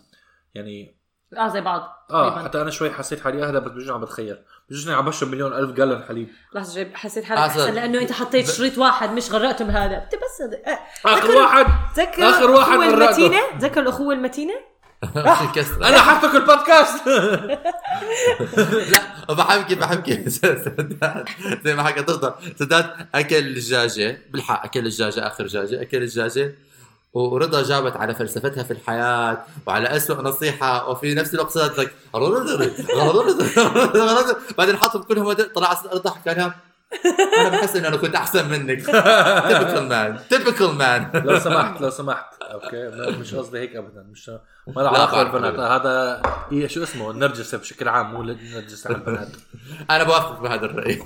Speaker 3: يعني
Speaker 4: اه زي بعض
Speaker 3: اه
Speaker 4: تقريباً.
Speaker 3: حتى انا شوي حسيت حالي اهدى بس بجوز عم بتخيل بجوز اني عم بشرب مليون الف جالون حليب
Speaker 4: لحظه جايب حسيت حالك
Speaker 2: آه، صار.
Speaker 4: احسن لانه انت حطيت
Speaker 2: ب-
Speaker 4: شريط واحد مش غرقته بهذا انت بس هذا- آه،
Speaker 3: اخر
Speaker 4: ذكروا-
Speaker 3: واحد
Speaker 4: تذكر
Speaker 3: آخر واحد
Speaker 4: الأخوة
Speaker 3: غرقته.
Speaker 4: المتينه تذكر الاخوه المتينه
Speaker 2: في كسره
Speaker 3: انا حفتك البودكاست
Speaker 2: لا بحبكي بحبكي سداد زي ما حكى تفضل سداد اكل الدجاجه بالحق اكل الدجاجه اخر دجاجه اكل الدجاجه ورضا جابت على فلسفتها في الحياة وعلى أسوأ نصيحة وفي نفس الوقت صارت لك بعدين حاطهم كلهم طلع رضا حكى لها أنا بحس إن أنا كنت أحسن منك تيبكال مان تيبكال مان
Speaker 3: لو سمحت لو سمحت اوكي لا، مش قصدي هيك ابدا مش ما له
Speaker 2: لا،
Speaker 3: علاقه
Speaker 2: بعرف،
Speaker 3: بالبنات
Speaker 2: بعرف.
Speaker 3: هذا هي شو اسمه النرجسه بشكل عام مو النرجسه على البنات
Speaker 2: انا بوافقك بهذا الراي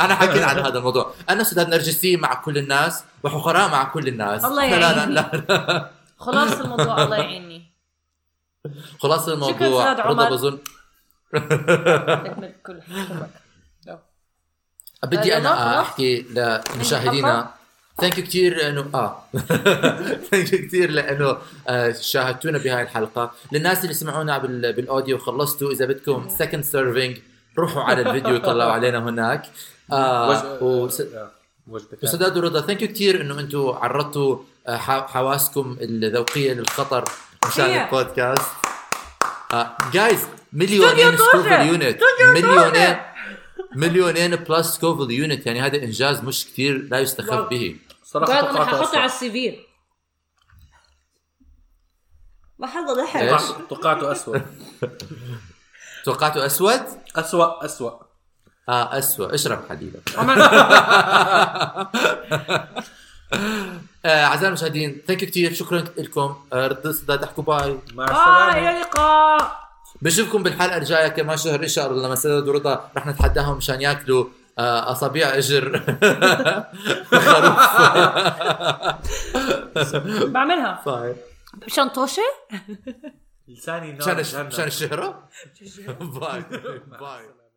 Speaker 2: انا حكيت عن هذا الموضوع انا سداد نرجسيه مع كل الناس وحقراء مع كل الناس
Speaker 4: الله
Speaker 2: لا لا
Speaker 4: يعينك.
Speaker 2: لا, لا.
Speaker 4: خلاص الموضوع الله يعيني
Speaker 2: خلاص
Speaker 4: شكراً
Speaker 2: الموضوع
Speaker 4: سداد عمر.
Speaker 2: رضا بظن
Speaker 4: تكمل كل حكمك
Speaker 2: بدي انا
Speaker 4: خلاص.
Speaker 2: احكي لمشاهدينا ثانك يو كثير انه اه ثانك يو كثير لانه آه، شاهدتونا بهاي الحلقه للناس اللي سمعونا بال- بالاوديو وخلصتوا اذا بدكم سكند سيرفينج روحوا على الفيديو طلعوا علينا هناك آه
Speaker 3: وج-
Speaker 2: وس...
Speaker 3: آه، وجبة ثانية.
Speaker 2: استاذ ورضا ثانك يو كثير انه انتم عرضتوا آه، ح- حواسكم الذوقيه للخطر مشان
Speaker 4: هي.
Speaker 2: البودكاست جايز مليونين
Speaker 4: استوديو طوشة.
Speaker 2: سكوفل يونت
Speaker 4: استوديو طوشة.
Speaker 2: مليونين مليونين بلس سكوفل يونت يعني هذا انجاز مش كثير لا يستخف
Speaker 4: واو.
Speaker 2: به
Speaker 3: صراحه
Speaker 4: بعد انا
Speaker 3: توقعت
Speaker 4: ححطه على
Speaker 3: اسوء
Speaker 4: السي في محل
Speaker 2: إيش؟
Speaker 4: ضحك
Speaker 3: توقعت- توقعته اسوء
Speaker 2: توقعته اسود؟
Speaker 3: اسوء اسوء
Speaker 2: اه اسود اشرب حليبك آه اعزائي المشاهدين ثانك يو كثير شكرا لكم آه رضا سداد احكوا باي
Speaker 3: مع
Speaker 4: باي
Speaker 3: السلامه
Speaker 4: الى اللقاء
Speaker 2: بنشوفكم بالحلقه الجايه كمان شهر ان شاء الله لما سداد ورضا رح نتحداهم مشان ياكلوا آه، اصابيع اجر خروف
Speaker 4: بعملها
Speaker 2: طيب
Speaker 4: شنطوشه
Speaker 3: لساني نار
Speaker 2: مشان
Speaker 3: جهنم.
Speaker 2: مشان الشهره باي باي